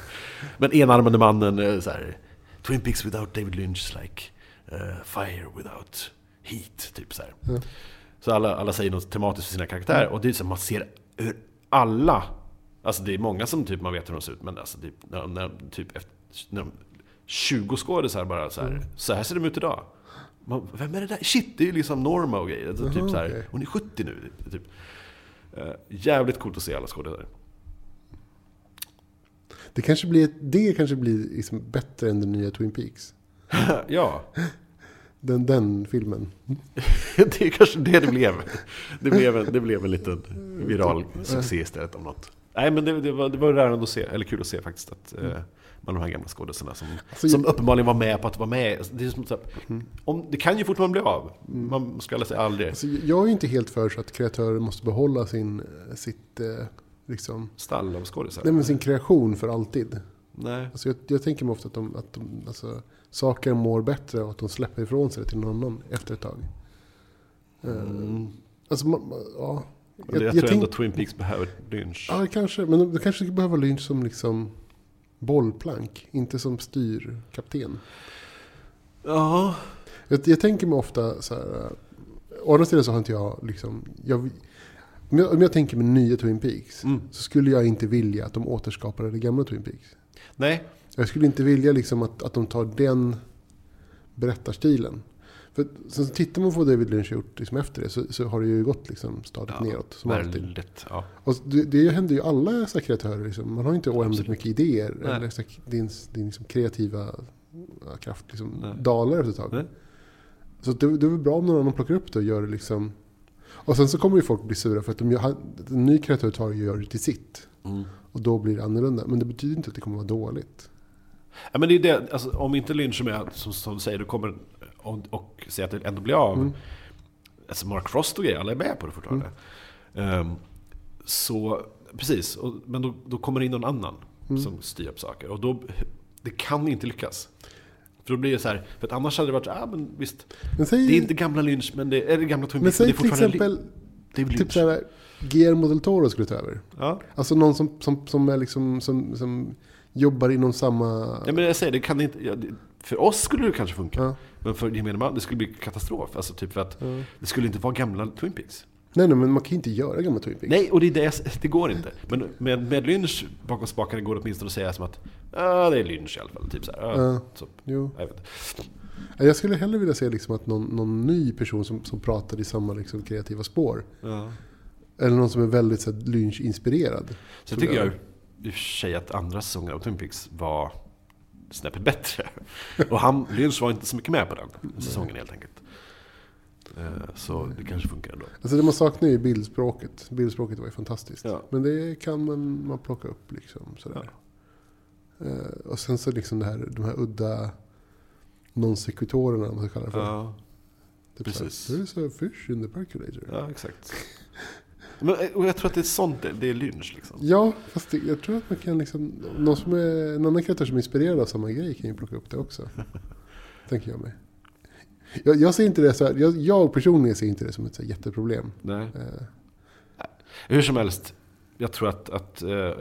[SPEAKER 2] Men enarmade mannen, eh, så här, Twin Peaks without David Lynch, like eh, fire without heat, typ så här.
[SPEAKER 1] Ja.
[SPEAKER 2] Så alla, alla säger något tematiskt för sina karaktärer.
[SPEAKER 1] Mm.
[SPEAKER 2] Och det är så här, man ser hur alla, alltså det är många som typ man vet hur de ser ut, men alltså typ, när, när, typ efter, när de, 20 skådisar bara så här,
[SPEAKER 1] Mm.
[SPEAKER 2] så här ser de ut idag. Man, vem är det där? Shit, det är ju liksom Norma och grejer. Alltså,
[SPEAKER 1] Jaha,
[SPEAKER 2] typ så här,
[SPEAKER 1] okej.
[SPEAKER 2] Hon är 70 nu. Typ. Eh, jävligt coolt att se alla skådisar.
[SPEAKER 1] Det kanske blir, ett- det kanske blir liksom bättre än den nya Twin Peaks.
[SPEAKER 2] ja.
[SPEAKER 1] Den, den filmen.
[SPEAKER 2] det är kanske det det blev. Det blev en, det blev en liten viral succé istället om något. Nej men det, det, var, det var rörande att se, eller kul att se faktiskt att eh, man har de här gamla skådisarna som,
[SPEAKER 1] Alltså,
[SPEAKER 2] som
[SPEAKER 1] jag-
[SPEAKER 2] uppenbarligen var med på att vara med. Det, är som, så här, om, det kan ju fortfarande bli av. Man ska aldrig säga aldrig.
[SPEAKER 1] Alltså, jag är inte helt för så att kreatörer måste behålla sin, eh, sitt, eh, liksom,
[SPEAKER 2] Stall av skådisar.
[SPEAKER 1] nej, men sin kreation för alltid.
[SPEAKER 2] Nej.
[SPEAKER 1] Alltså, jag, jag tänker mig ofta att, de, att de, alltså, saker mår bättre och att de släpper ifrån sig det till någon annan efter ett tag. Eh,
[SPEAKER 2] Mm.
[SPEAKER 1] Alltså, man, man- ja.
[SPEAKER 2] Men jag, jag tror ändå Twin Peaks behöver Lynch.
[SPEAKER 1] Ja, kanske. Men du kanske skulle behöva Lynch som liksom bollplank, inte som styrkapten.
[SPEAKER 2] Ja.
[SPEAKER 1] Jag, jag tänker mig ofta så här... eh, Å andra sidan så har inte jag liksom... Jag, om, jag, om jag tänker mig nya Twin Peaks
[SPEAKER 2] Mm.
[SPEAKER 1] så skulle jag inte vilja att de återskapade det gamla Twin Peaks.
[SPEAKER 2] Nej.
[SPEAKER 1] Jag skulle inte vilja liksom att, att de tar den berättarstilen. För att- sen så tittar man på vad David Lynch har gjort liksom efter det så, så har det ju gått liksom stadigt
[SPEAKER 2] Ja,
[SPEAKER 1] neråt. Som alltid.
[SPEAKER 2] Väldigt. Ja.
[SPEAKER 1] Och det, det händer ju alla sekretörer. Liksom. Man har ju inte oändligt
[SPEAKER 2] Absolut.
[SPEAKER 1] mycket idéer.
[SPEAKER 2] Nej.
[SPEAKER 1] Eller sak- din, din liksom kreativa ja, kraft liksom
[SPEAKER 2] Nej.
[SPEAKER 1] dalar efter ett tag.
[SPEAKER 2] Nej.
[SPEAKER 1] Så att det, det är väl bra om någon annan plockar upp det och gör det liksom. Och sen så kommer ju folk bli sura för att de gör, han- en ny kreatör tar och gör det till sitt.
[SPEAKER 2] Mm.
[SPEAKER 1] Och då blir det annorlunda. Men det betyder inte att det kommer vara dåligt.
[SPEAKER 2] Ja, men det är det, alltså, om inte Lynch är med, som, som du säger, då kommer, och, och säger att det ändå blir av.
[SPEAKER 1] Mm.
[SPEAKER 2] Alltså Mark Frost och grejer, alla är med på det fortfarande.
[SPEAKER 1] Mm.
[SPEAKER 2] Ehm, så, precis. Och, men då, då kommer det in någon annan
[SPEAKER 1] Mm.
[SPEAKER 2] som styr upp saker. Och då, det kan inte lyckas. För då blir det så här, för att annars hade det varit så här, ah, men visst.
[SPEAKER 1] Men säg,
[SPEAKER 2] Det är inte gamla Lynch, men det är, eller gamla Twin
[SPEAKER 1] men
[SPEAKER 2] Peaks,
[SPEAKER 1] säg till
[SPEAKER 2] men det är fortfarande Lynch.
[SPEAKER 1] exempel
[SPEAKER 2] Det är
[SPEAKER 1] typ
[SPEAKER 2] Lynch.
[SPEAKER 1] så här, Guillermo del Toro skulle ta över.
[SPEAKER 2] Ja.
[SPEAKER 1] Alltså någon som, som, som, är liksom, som, som jobbar inom samma...
[SPEAKER 2] ja, men jag säger, det kan inte, ja, det, för oss skulle det kanske funka.
[SPEAKER 1] Ja.
[SPEAKER 2] Men för gemene man, det skulle bli katastrof. Alltså typ för att
[SPEAKER 1] Ja.
[SPEAKER 2] det skulle inte vara gamla Twin Peaks.
[SPEAKER 1] Nej, nej, men man kan ju inte göra gamla Twin Peaks.
[SPEAKER 2] Nej, och det, är det, jag s- det går inte. Men med, med Lynch bakom spakarna går det åtminstone att säga som att ah, det är Lynch i alla fall. Typ så här, ah,
[SPEAKER 1] Ja.
[SPEAKER 2] så,
[SPEAKER 1] Jo.
[SPEAKER 2] jag vet. inte.
[SPEAKER 1] Jag skulle hellre vilja se liksom att någon, någon ny person som, som pratar i samma liksom kreativa spår. Eller någon som är väldigt så här, lynch-inspirerad.
[SPEAKER 2] Sen
[SPEAKER 1] Tror
[SPEAKER 2] tycker jag
[SPEAKER 1] jag.
[SPEAKER 2] i och för sig att andra säsongen av Twin Peaks var snäppet bättre. Och han, Lynch var inte så mycket med på den säsongen helt enkelt. Eh, Så det kanske funkar ändå.
[SPEAKER 1] Alltså det man saknar är ju bildspråket. Bildspråket var ju fantastiskt.
[SPEAKER 2] Ja.
[SPEAKER 1] Men det kan man, man plocka upp liksom sådär. Eh, och sen så liksom det här, de här udda non sequitorerna om man ska kalla det för.
[SPEAKER 2] Ja,
[SPEAKER 1] typ så här,
[SPEAKER 2] precis.
[SPEAKER 1] There's a fish in the percolator.
[SPEAKER 2] ja exakt. Men, eh, och jag tror att det är sånt, det- det är Lynch liksom.
[SPEAKER 1] Ja, fast det, jag tror att man kan liksom... Någon som är, en annan karaktär som är inspirerad av samma grej kan ju plocka upp det också. tänker jag mig. Jag, jag ser inte det så här, jag, jag personligen ser inte det som ett så här jätteproblem.
[SPEAKER 2] Nej.
[SPEAKER 1] Eh,
[SPEAKER 2] Hur som helst, jag tror att, att eh,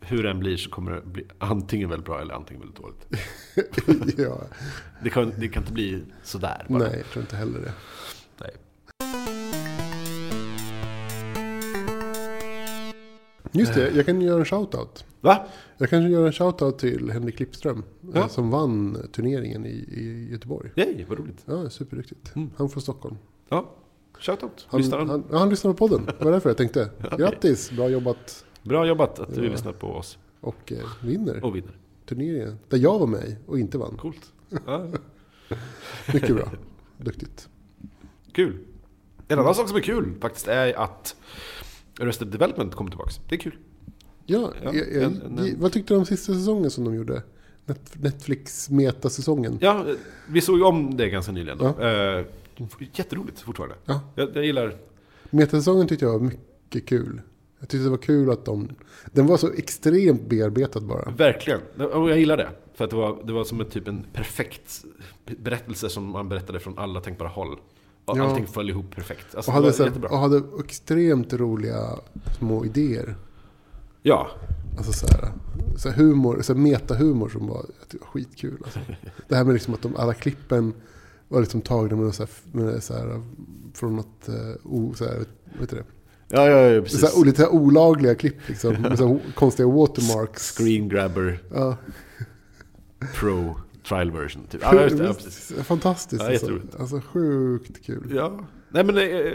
[SPEAKER 2] hur den blir så kommer det bli antingen väldigt bra eller antingen väldigt dåligt.
[SPEAKER 1] ja,
[SPEAKER 2] Det kan, det kan inte bli sådär bara.
[SPEAKER 1] nej, jag tror inte heller det.
[SPEAKER 2] Nej.
[SPEAKER 1] Just det, jag kan göra en shoutout.
[SPEAKER 2] Va?
[SPEAKER 1] Jag kan göra en shoutout till Henrik Klippström eh,
[SPEAKER 2] Ja.
[SPEAKER 1] som vann turneringen i, i Göteborg.
[SPEAKER 2] Yay, vad roligt.
[SPEAKER 1] Ja, superduktigt.
[SPEAKER 2] Mm.
[SPEAKER 1] Han från Stockholm.
[SPEAKER 2] Ja, shoutout.
[SPEAKER 1] Han,
[SPEAKER 2] Lyssnar
[SPEAKER 1] han?
[SPEAKER 2] han?
[SPEAKER 1] Han, ja, han lyssnar på podden, det var därför jag tänkte.
[SPEAKER 2] Okej.
[SPEAKER 1] Grattis, bra jobbat
[SPEAKER 2] Bra jobbat att du
[SPEAKER 1] Ja.
[SPEAKER 2] lyssnar på oss
[SPEAKER 1] och eh, vinner
[SPEAKER 2] och vinner.
[SPEAKER 1] turneringen. Där jag var med och inte vann.
[SPEAKER 2] Coolt. Ja,
[SPEAKER 1] Mycket bra. Duktigt.
[SPEAKER 2] kul. En annan sak som är kul faktiskt är att Arrested Development kommer tillbaka. Det är kul.
[SPEAKER 1] Ja, jag,
[SPEAKER 2] Ja,
[SPEAKER 1] jag,
[SPEAKER 2] en- en-
[SPEAKER 1] vad tyckte du om sista säsongen som de gjorde? Net- Netflix-metasäsongen?
[SPEAKER 2] Ja, eh, vi såg ju om det ganska nyligen. Då.
[SPEAKER 1] Ja.
[SPEAKER 2] Eh, jätteroligt fortfarande.
[SPEAKER 1] Ja.
[SPEAKER 2] Jag, jag gillar...
[SPEAKER 1] Metasäsongen tyckte jag var mycket kul. Jag tyckte det var kul att de... Den var så extremt bearbetad bara.
[SPEAKER 2] Verkligen. Och jag gillar det. För att det var, det var som en typ en perfekt berättelse som man berättade från alla tänkbara håll. Och
[SPEAKER 1] Ja.
[SPEAKER 2] allting föll ihop perfekt. Alltså,
[SPEAKER 1] Och hade,
[SPEAKER 2] det var
[SPEAKER 1] så
[SPEAKER 2] jättebra.
[SPEAKER 1] här, och hade extremt roliga små idéer.
[SPEAKER 2] Ja,
[SPEAKER 1] Alltså så här, så här humor, så här metahumor som var, jag tyckte det var skitkul. Alltså. Det här med liksom att de, alla klippen var liksom tagna med, något så här, med så här, från något, eh, o, så här, vet du det?
[SPEAKER 2] ja, ja, ja
[SPEAKER 1] Så här, och lite så här olagliga klipp liksom, med så här, o- konstiga watermarks.
[SPEAKER 2] Screen grabber
[SPEAKER 1] Ja,
[SPEAKER 2] pro trial version. Typ. Ja, just det. Ja, precis.
[SPEAKER 1] Fantastiskt.
[SPEAKER 2] Ja,
[SPEAKER 1] alltså.
[SPEAKER 2] jätteroligt.
[SPEAKER 1] alltså sjukt kul.
[SPEAKER 2] Ja. Nej, men, eh,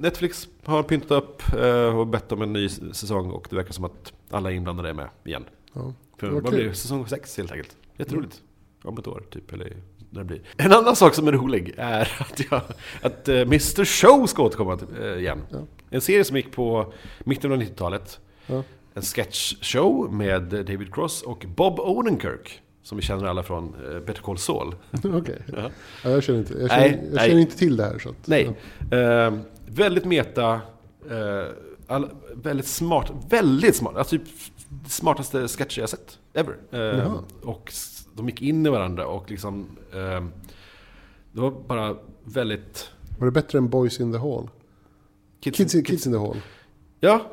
[SPEAKER 2] Netflix har pyntat upp eh, och bett om en ny s- säsong och det verkar som att alla inblandade är med igen.
[SPEAKER 1] Ja.
[SPEAKER 2] För
[SPEAKER 1] Vad
[SPEAKER 2] vad
[SPEAKER 1] kul.
[SPEAKER 2] blir det? säsong sex helt enkelt. Jätteroligt. Om ett år typ, eller när det blir. En annan sak som är rolig är att, jag, att eh, Mr Show ska återkomma till, eh, igen.
[SPEAKER 1] Ja.
[SPEAKER 2] En serie som gick på mitten av 90-talet.
[SPEAKER 1] Ja.
[SPEAKER 2] En sketchshow med David Cross och Bob Odenkirk. Som vi känner alla från eh, Better Call Saul.
[SPEAKER 1] Okej.
[SPEAKER 2] Ja.
[SPEAKER 1] Ja, jag känner, inte, jag känner,
[SPEAKER 2] Nej,
[SPEAKER 1] jag
[SPEAKER 2] nej.
[SPEAKER 1] känner inte till det här. Så att,
[SPEAKER 2] Nej. Eh, väldigt meta. Eh, all, väldigt smart. Väldigt smart. Alltså typ smartaste sketcher jag sett. Ever. Eh,
[SPEAKER 1] Jaha.
[SPEAKER 2] och s- de gick in i varandra och liksom... Eh, det var bara väldigt...
[SPEAKER 1] Ja. Var det bättre än Boys in the Hall? Kids, kids, in the Hall.
[SPEAKER 2] Ja.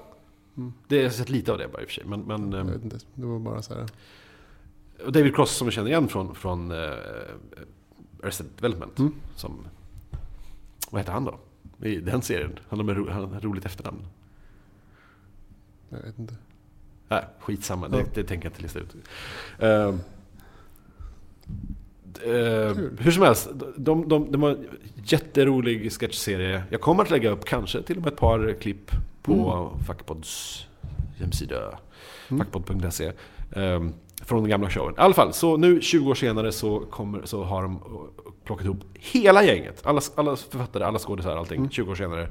[SPEAKER 1] Mm.
[SPEAKER 2] Det har jag sett lite av det bara i och för sig. Men, men,
[SPEAKER 1] Jag
[SPEAKER 2] eh,
[SPEAKER 1] vet inte, det var bara så här.
[SPEAKER 2] och David Cross som jag känner igen från, från eh, Arrested Development.
[SPEAKER 1] Mm.
[SPEAKER 2] Som, vad heter han då? I den serien. Han har med ro, han har ett roligt efternamn.
[SPEAKER 1] Jag vet inte.
[SPEAKER 2] Nej, skitsamma.
[SPEAKER 1] Ja.
[SPEAKER 2] Det, det tänker jag inte lista ut. Ehm, d- eh,
[SPEAKER 1] Kul.
[SPEAKER 2] hur som helst, de, de, de har en jätterolig sketchserie. Jag kommer att lägga upp kanske till och med ett par klipp på Fackpods hemsida.
[SPEAKER 1] Mm.
[SPEAKER 2] Fackpodd.se. ehm, från den gamla showen. I alla fall, så nu 20 år senare så, kommer, så har de eh, plockat ihop hela gänget. Alla, alla författare, alla skådisar, allting.
[SPEAKER 1] Mm.
[SPEAKER 2] 20 år senare.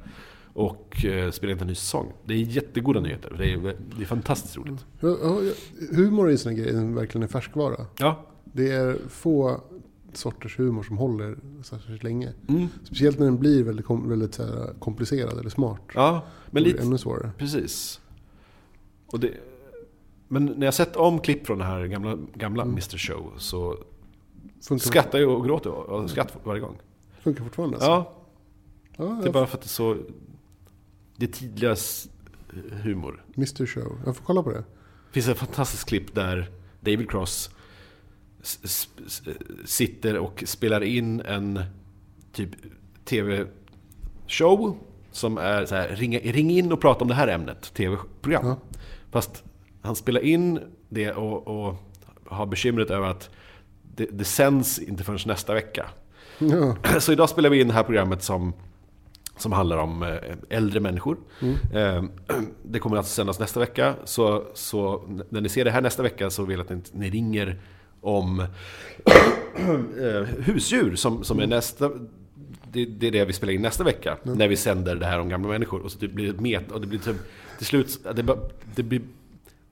[SPEAKER 2] Och eh, spelar inte en ny säsong. Det är jättegoda nyheter. Det är, det är fantastiskt roligt.
[SPEAKER 1] Ja, ja, ja, Humor är ju en sån här grej som verkligen är färskvara.
[SPEAKER 2] Ja.
[SPEAKER 1] Det är få sorters humor som håller särskilt länge.
[SPEAKER 2] Mm.
[SPEAKER 1] Speciellt när den blir väldigt, kom, väldigt så här, komplicerad eller smart.
[SPEAKER 2] ja, men
[SPEAKER 1] Då blir det
[SPEAKER 2] lite...
[SPEAKER 1] Ännu svårare.
[SPEAKER 2] Precis. Och det, men när jag sett om klipp från den här gamla, gamla
[SPEAKER 1] Mm.
[SPEAKER 2] Mr Show så
[SPEAKER 1] Funkar,
[SPEAKER 2] skrattar jag och gråter och skratt varje gång.
[SPEAKER 1] funkar fortfarande alltså.
[SPEAKER 2] Ja,
[SPEAKER 1] Ja,
[SPEAKER 2] det är
[SPEAKER 1] jag-
[SPEAKER 2] bara för att det är så... Det är tidlös eh, humor.
[SPEAKER 1] Mr Show. Jag får kolla på det.
[SPEAKER 2] Det finns ett fantastiskt klipp där David Cross s- s- s- sitter och spelar in en typ tv-show som är så här, ring, ring in och prata om det här ämnet, tv-program.
[SPEAKER 1] Ja.
[SPEAKER 2] Fast han spelar in det och, och har bekymret över att det, det sänds inte förrän nästa vecka.
[SPEAKER 1] Ja.
[SPEAKER 2] Så idag spelar vi in det här programmet som, som handlar om eh, äldre människor.
[SPEAKER 1] Mm.
[SPEAKER 2] Eh, Det kommer alltså sändas nästa vecka. Så, så n- när ni ser det här nästa vecka så vill jag att ni, ni ringer om eh, husdjur som, som är
[SPEAKER 1] Mm.
[SPEAKER 2] nästa... Det, det är det vi spelar in nästa vecka. När vi sänder det här om gamla människor. Och så det blir ett met och det blir typ, till slut... Det, bara- det blir...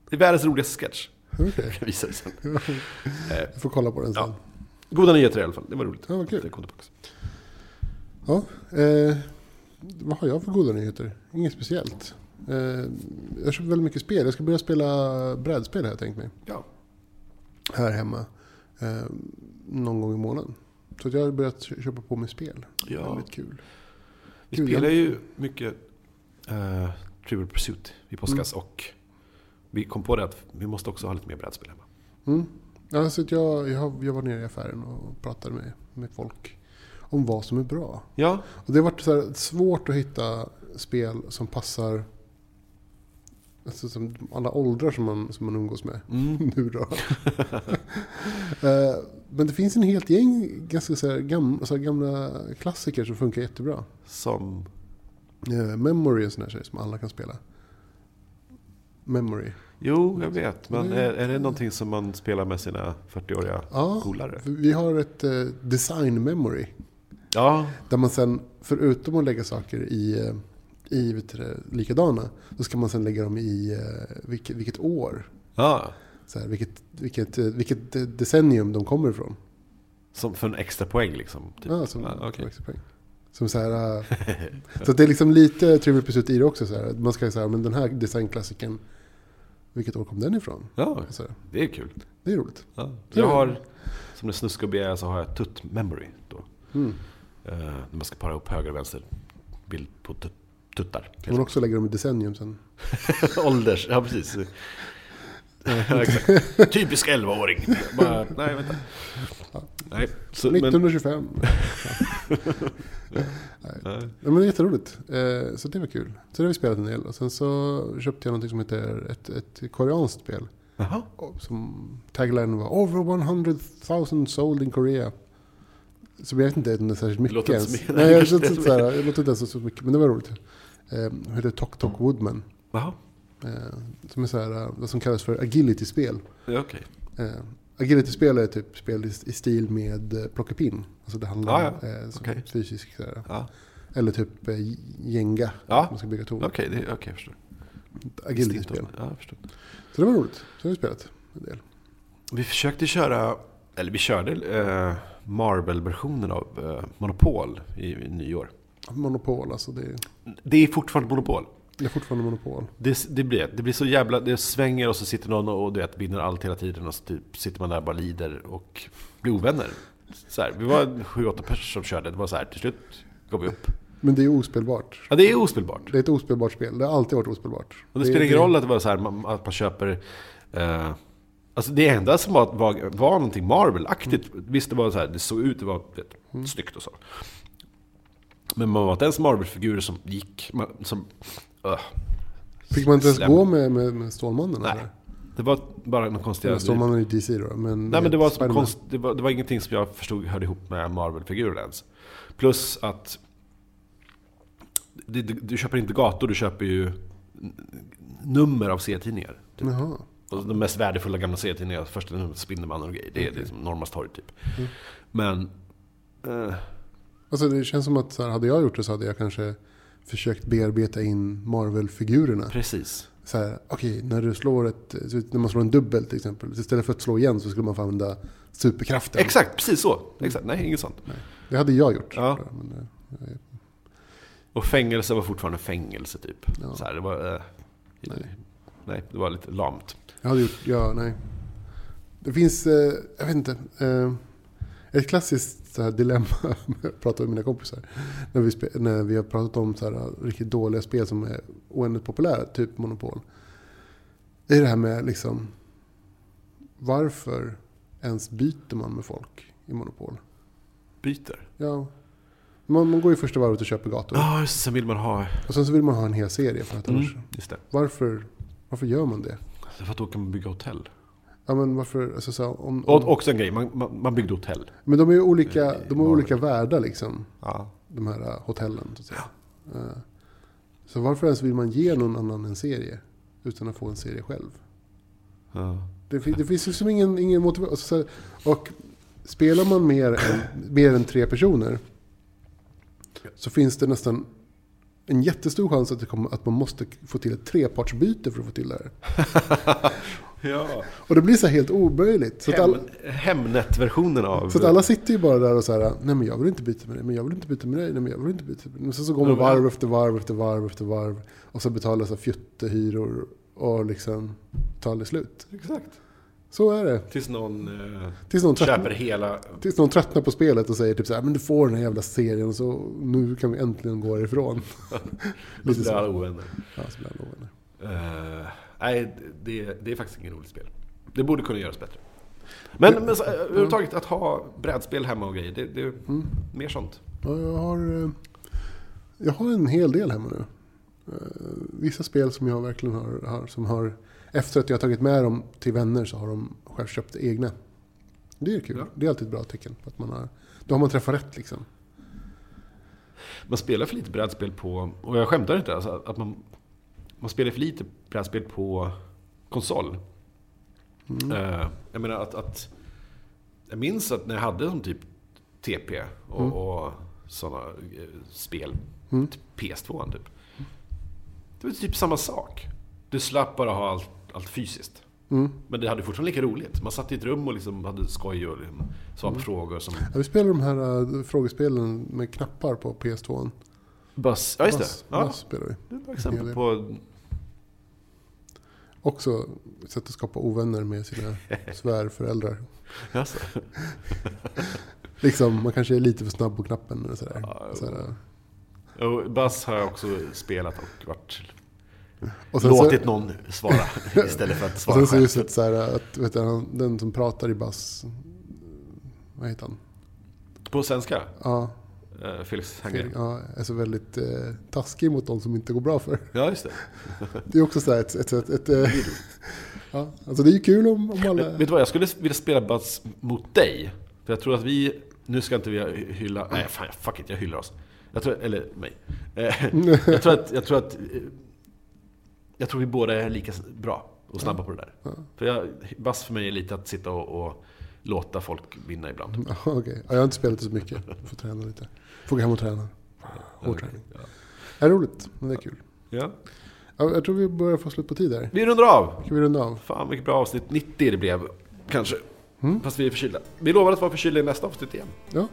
[SPEAKER 2] Det är världens roligaste sketch.
[SPEAKER 1] Okej.
[SPEAKER 2] Visar det sen.
[SPEAKER 1] Jag får kolla på den sen.
[SPEAKER 2] Ja. Goda nyheter i alla fall. Det var roligt.
[SPEAKER 1] Ja, vad kul.
[SPEAKER 2] Det kom tillbaka.
[SPEAKER 1] Ja, eh, vad har jag för goda nyheter? Inget speciellt. Eh, jag köper väldigt mycket spel. Jag ska börja spela brädspel har jag tänkt mig.
[SPEAKER 2] Ja.
[SPEAKER 1] Här hemma. Eh, någon gång i månaden. Så att jag har börjat kö- köpa på mig spel.
[SPEAKER 2] Ja.
[SPEAKER 1] Väldigt kul.
[SPEAKER 2] Vi
[SPEAKER 1] Kul,
[SPEAKER 2] spelar ju mycket uh, Trivial Pursuit i påskas och vi kom på det att vi måste också ha lite mer brädspel hemma.
[SPEAKER 1] Mm. Ja, så att jag, jag, har- jag var nere i affären och pratade med, med folk om vad som är bra.
[SPEAKER 2] Ja,
[SPEAKER 1] Och det har varit så här svårt att hitta spel som passar Alltså som alla åldrar som man, som man umgås med
[SPEAKER 2] Mm.
[SPEAKER 1] nu då. Eh, Men det finns en helt gäng ganska så här gamla, så här gamla klassiker som funkar jättebra.
[SPEAKER 2] Som...
[SPEAKER 1] Eh, Memory är en sån här grej som alla kan spela. Memory.
[SPEAKER 2] Jo, jag vet. Men
[SPEAKER 1] Mm.
[SPEAKER 2] är, är det någonting som man spelar med sina 40-åriga
[SPEAKER 1] Ja,
[SPEAKER 2] polare?
[SPEAKER 1] vi har ett eh, design memory.
[SPEAKER 2] Ja.
[SPEAKER 1] Där man sen, förutom att lägga saker i, eh, i vet du, det, likadana, så ska man sen lägga dem i eh, vilket, vilket år,
[SPEAKER 2] ja.
[SPEAKER 1] så här, vilket, vilket, eh, vilket eh, decennium de kommer ifrån.
[SPEAKER 2] Som för en extra poäng liksom. Typ.
[SPEAKER 1] Ja, som,
[SPEAKER 2] Ja,
[SPEAKER 1] som
[SPEAKER 2] okej.
[SPEAKER 1] extra poäng. Som så här, eh, så att det är liksom lite Trivial Pursuit i det också. Så här. Man ska säga, men den här designklassikern, vilket år kom den ifrån?
[SPEAKER 2] ja,
[SPEAKER 1] Så här,
[SPEAKER 2] det är kul.
[SPEAKER 1] det är roligt.
[SPEAKER 2] Ja. Jag har, som den snuskiga begär så har jag tutt memory. Då.
[SPEAKER 1] Mm.
[SPEAKER 2] Eh, när man ska para ihop höger och vänster bild på tut- tuttar.
[SPEAKER 1] Kan man också lägga dem i decennium sen.
[SPEAKER 2] Ålders, ja precis. Ja, exakt. Typisk 11-åring. Bara, nej, vänta. Nej, så, men,
[SPEAKER 1] 1925.
[SPEAKER 2] nej.
[SPEAKER 1] Ja, men det är jätteroligt. Eh, Så det var kul. Så det har vi spelat en del. Och sen så köpte jag något som heter ett, ett koreanskt spel.
[SPEAKER 2] Jaha.
[SPEAKER 1] Och Som tagline var Over 100,000 sold in Korea. Så jag vet inte om det är särskilt mycket
[SPEAKER 2] låter inte
[SPEAKER 1] ens.
[SPEAKER 2] som-
[SPEAKER 1] Nej, jag
[SPEAKER 2] kanske
[SPEAKER 1] låter inte
[SPEAKER 2] inte
[SPEAKER 1] så här, jag låter inte ens så mycket. Men det var roligt. Eh, Det heter Tok Tok Woodman.
[SPEAKER 2] Jaha.
[SPEAKER 1] eh, Som är så här, eh, vad som kallas för agility-spel.
[SPEAKER 2] Ja, okej.
[SPEAKER 1] Eh, Agility-spel är typ spel i i stil med eh, plockepinn. Alltså det handlar
[SPEAKER 2] Ah, Ja,
[SPEAKER 1] om eh, som
[SPEAKER 2] Okej.
[SPEAKER 1] fysisk så här,
[SPEAKER 2] Ja.
[SPEAKER 1] eller typ eh, Jenga.
[SPEAKER 2] Ja.
[SPEAKER 1] Man ska bygga torn.
[SPEAKER 2] Okej, det- okej, jag förstår.
[SPEAKER 1] Agility-spel.
[SPEAKER 2] Ja, jag förstår.
[SPEAKER 1] Så det var roligt. Så har vi spelat en del.
[SPEAKER 2] Vi försökte köra, eller vi körde eh, Marvel-versionen av eh, Monopol i, i nyår.
[SPEAKER 1] Monopol alltså. Det är,
[SPEAKER 2] Det är fortfarande Monopol.
[SPEAKER 1] det är fortfarande monopol.
[SPEAKER 2] Det, det, blir, det blir så jävla... Det svänger och så sitter någon och du vet, vinner allt hela tiden och så typ, sitter man där och bara lider och blir ovänner. Så här, vi var sju, åtta personer som körde. Det var så här, till slut går vi upp.
[SPEAKER 1] Men det är ospelbart.
[SPEAKER 2] Ja, det är ospelbart.
[SPEAKER 1] Det är ett ospelbart spel. Det har alltid varit ospelbart.
[SPEAKER 2] Och det spelar ingen roll att det var så här, man, att man köper... Eh, alltså det enda som var, var, var någonting Marvel-aktigt, visst det var så här, det såg ut, det var vet, snyggt och så. Men man var inte ens Marvel-figurer som gick, man, som... öh,
[SPEAKER 1] Fick man inte ens
[SPEAKER 2] slem.
[SPEAKER 1] gå med, med, med Stålmannen?
[SPEAKER 2] Nej.
[SPEAKER 1] eller?
[SPEAKER 2] Det var bara någon konstig...
[SPEAKER 1] Eller Stålmannen är DC då. Men
[SPEAKER 2] Nej men det var, som
[SPEAKER 1] Spiderman.
[SPEAKER 2] konst, det, var, det var ingenting som jag förstod hörde ihop med Marvel-figuren ens. Plus att du, du, du köper inte gator, du köper ju n- nummer av serietidningar. Typ.
[SPEAKER 1] Jaha.
[SPEAKER 2] Och de mest värdefulla gamla serietidningarna, första numret Spindelmannen och grejer. Det är
[SPEAKER 1] Okej.
[SPEAKER 2] liksom Normas torg typ.
[SPEAKER 1] Mm.
[SPEAKER 2] Men... Eh,
[SPEAKER 1] Alltså det känns som att så här, hade jag gjort det så hade jag kanske försökt bearbeta in Marvel-figurerna.
[SPEAKER 2] precis.
[SPEAKER 1] Så här, okej, när du slår ett, så när man slår en dubbel till exempel. så Istället för att slå igen så skulle man få använda superkraften.
[SPEAKER 2] Exakt, precis så.
[SPEAKER 1] Mm.
[SPEAKER 2] Exakt. Nej, inget sånt.
[SPEAKER 1] Det hade jag gjort.
[SPEAKER 2] Ja.
[SPEAKER 1] Men, eh,
[SPEAKER 2] Och fängelse var fortfarande fängelse typ.
[SPEAKER 1] Ja.
[SPEAKER 2] Så här, det var... Eh,
[SPEAKER 1] Nej.
[SPEAKER 2] nej. det var lite lamt.
[SPEAKER 1] Jag hade gjort, ja, nej. Det finns, eh, jag vet inte, eh, ett klassiskt så här dilemma, jag pratar med mina kompisar, när vi, spe, när vi har pratat om så här, eh, riktigt dåliga spel som är oändligt populära, typ Monopol. Det är det här med liksom, varför ens byter man med folk i Monopol?
[SPEAKER 2] Byter.
[SPEAKER 1] Ja, man, man går ju första varvet och köper gator.
[SPEAKER 2] Ja, Ah, just det, sen vill man ha...
[SPEAKER 1] Och sen så vill man ha en hel serie för
[SPEAKER 2] Mm.
[SPEAKER 1] att annars,
[SPEAKER 2] Just det.
[SPEAKER 1] varför, varför gör man det?
[SPEAKER 2] Alltså, För att då kan man bygga hotell. Mm.
[SPEAKER 1] Ja men varför, alltså så här, om, om,
[SPEAKER 2] Och också en grej, man, man, man byggde hotell.
[SPEAKER 1] Men de är ju olika,
[SPEAKER 2] Eh, I- i
[SPEAKER 1] de har
[SPEAKER 2] norr.
[SPEAKER 1] olika världar liksom,
[SPEAKER 2] Ja.
[SPEAKER 1] de här eh, hotellen. Så, att säga. Eh, så varför ens vill man ge någon annan en serie utan att få en serie själv? Det, fin- det finns liksom ingen, ingen motivation. Alltså, så här, och spelar man mer än, mer än tre personer så finns det nästan en jättestor chans att, det kommer, att man måste få till ett trepartsbyte för att få till det här.
[SPEAKER 2] ja.
[SPEAKER 1] Och det blir så här helt omöjligt. Så att, alla,
[SPEAKER 2] Hem, Hemnet-versionen av...
[SPEAKER 1] så att alla sitter ju bara där och så här, nej men jag vill inte byta med dig, men jag vill inte byta med dig, nej men jag vill inte byta med dig. Men sen så går man
[SPEAKER 2] Ja, men-
[SPEAKER 1] varv efter varv efter varv efter varv och så betalar så här fjuttehyror och liksom tar aldrig slut.
[SPEAKER 2] Exakt.
[SPEAKER 1] Så är det.
[SPEAKER 2] Tills någon eh,
[SPEAKER 1] Tills någon,
[SPEAKER 2] köper
[SPEAKER 1] tröttnar,
[SPEAKER 2] hela...
[SPEAKER 1] tills någon tröttnar på spelet och säger typ så här, men du får den här jävla serien så nu kan vi äntligen gå ifrån.
[SPEAKER 2] Då
[SPEAKER 1] Lite
[SPEAKER 2] blir alla
[SPEAKER 1] så.
[SPEAKER 2] ovänner.
[SPEAKER 1] Ja, så blir alla ovänner.
[SPEAKER 2] Eh, nej, det, det är faktiskt ingen roligt spel. Det borde kunna göras bättre. Men, men så, eh, överhuvudtaget att ha brädspel hemma och grejer, det, det
[SPEAKER 1] Mm.
[SPEAKER 2] är mer sånt.
[SPEAKER 1] Ja, jag har, eh, jag har en hel del hemma nu. vissa spel som jag verkligen har, har, som har, efter att jag har tagit med dem till vänner så har de själv köpt egna. Det är kul.
[SPEAKER 2] Ja.
[SPEAKER 1] Det är alltid ett bra tecken. på Att man har, då har man träffat rätt liksom.
[SPEAKER 2] Man spelar för lite brädspel på, och jag skämtar inte, alltså, att man, man spelar för lite brädspel på konsol.
[SPEAKER 1] Mm.
[SPEAKER 2] Eh, jag menar att, att, jag minns att när jag hade som typ TP och,
[SPEAKER 1] Mm.
[SPEAKER 2] och sådana eh, spel,
[SPEAKER 1] Mm.
[SPEAKER 2] typ PS2 typ. Det var typ samma sak. Du slapp bara ha allt, allt fysiskt.
[SPEAKER 1] Mm.
[SPEAKER 2] Men det hade fortfarande lika roligt. Man satt i ett rum och liksom hade skoj och liksom svarade på frågor som...
[SPEAKER 1] Ja, vi spelar de här äh, frågespelen med knappar på PS2.
[SPEAKER 2] Bass. Ja,
[SPEAKER 1] Bass-
[SPEAKER 2] just det. Ja,
[SPEAKER 1] bass spelar vi.
[SPEAKER 2] det var
[SPEAKER 1] En
[SPEAKER 2] exempel
[SPEAKER 1] hel
[SPEAKER 2] på...
[SPEAKER 1] Också ett sätt att skapa ovänner med sina svärföräldrar.
[SPEAKER 2] Jaså.
[SPEAKER 1] Liksom, man kanske är lite för snabb på knappen eller sådär.
[SPEAKER 2] Ja,
[SPEAKER 1] Så här, äh,
[SPEAKER 2] Och Bass har jag också spelat och varit...
[SPEAKER 1] och sen så-
[SPEAKER 2] Låtit någon svara istället för att
[SPEAKER 1] Och
[SPEAKER 2] svara
[SPEAKER 1] sen så
[SPEAKER 2] själv.
[SPEAKER 1] just att, så här, att vet du, han- den som pratar i bass... Vad heter han?
[SPEAKER 2] På svenska?
[SPEAKER 1] Ja,
[SPEAKER 2] Uh, Felix
[SPEAKER 1] Fredrik,
[SPEAKER 2] Herngren.
[SPEAKER 1] ja, är så väldigt eh, taskig mot de som inte går bra för.
[SPEAKER 2] Ja, just det.
[SPEAKER 1] Det är också så här ett... ett, ett, ett eh, ja, alltså det är ju kul om, om alla...
[SPEAKER 2] Men, vet du vad, jag skulle vilja spela Bass mot dig. För jag tror att vi... Nu ska inte vi hylla... Nej, fan, fuck it, jag hyllar oss. Jag tror, eller mig. Eh, jag tror att... Jag tror, att, eh, jag tror vi båda är lika bra och snabba på det där.
[SPEAKER 1] Ja.
[SPEAKER 2] För jag, Bass för mig är lite att sitta och, och låta folk vinna ibland.
[SPEAKER 1] Ja, okej. Ja, jag har inte spelat det så mycket. Får träna lite. Får gå hem och träna. Hård träning.
[SPEAKER 2] Ja.
[SPEAKER 1] Det är roligt, men det är kul.
[SPEAKER 2] Ja.
[SPEAKER 1] Ja, Jag tror vi börjar få slut på tid här.
[SPEAKER 2] Vi rundar av!
[SPEAKER 1] Kan vi runda av?
[SPEAKER 2] Fan vilket bra avsnitt 90 det blev, kanske. Fast vi är förkylda. Vi lovar att vara förkylda i nästa avsnitt igen.
[SPEAKER 1] Ja,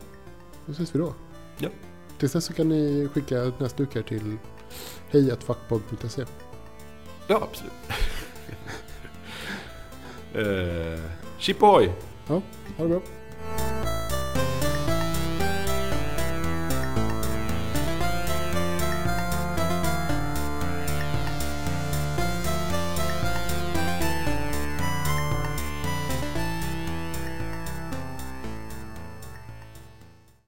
[SPEAKER 1] då ses vi då.
[SPEAKER 2] Ja.
[SPEAKER 1] Tills dess så kan ni skicka näsdukar till hejatfackpodd.se.
[SPEAKER 2] Ja, absolut. uh, Chipoy!
[SPEAKER 1] Ja, ha det bra.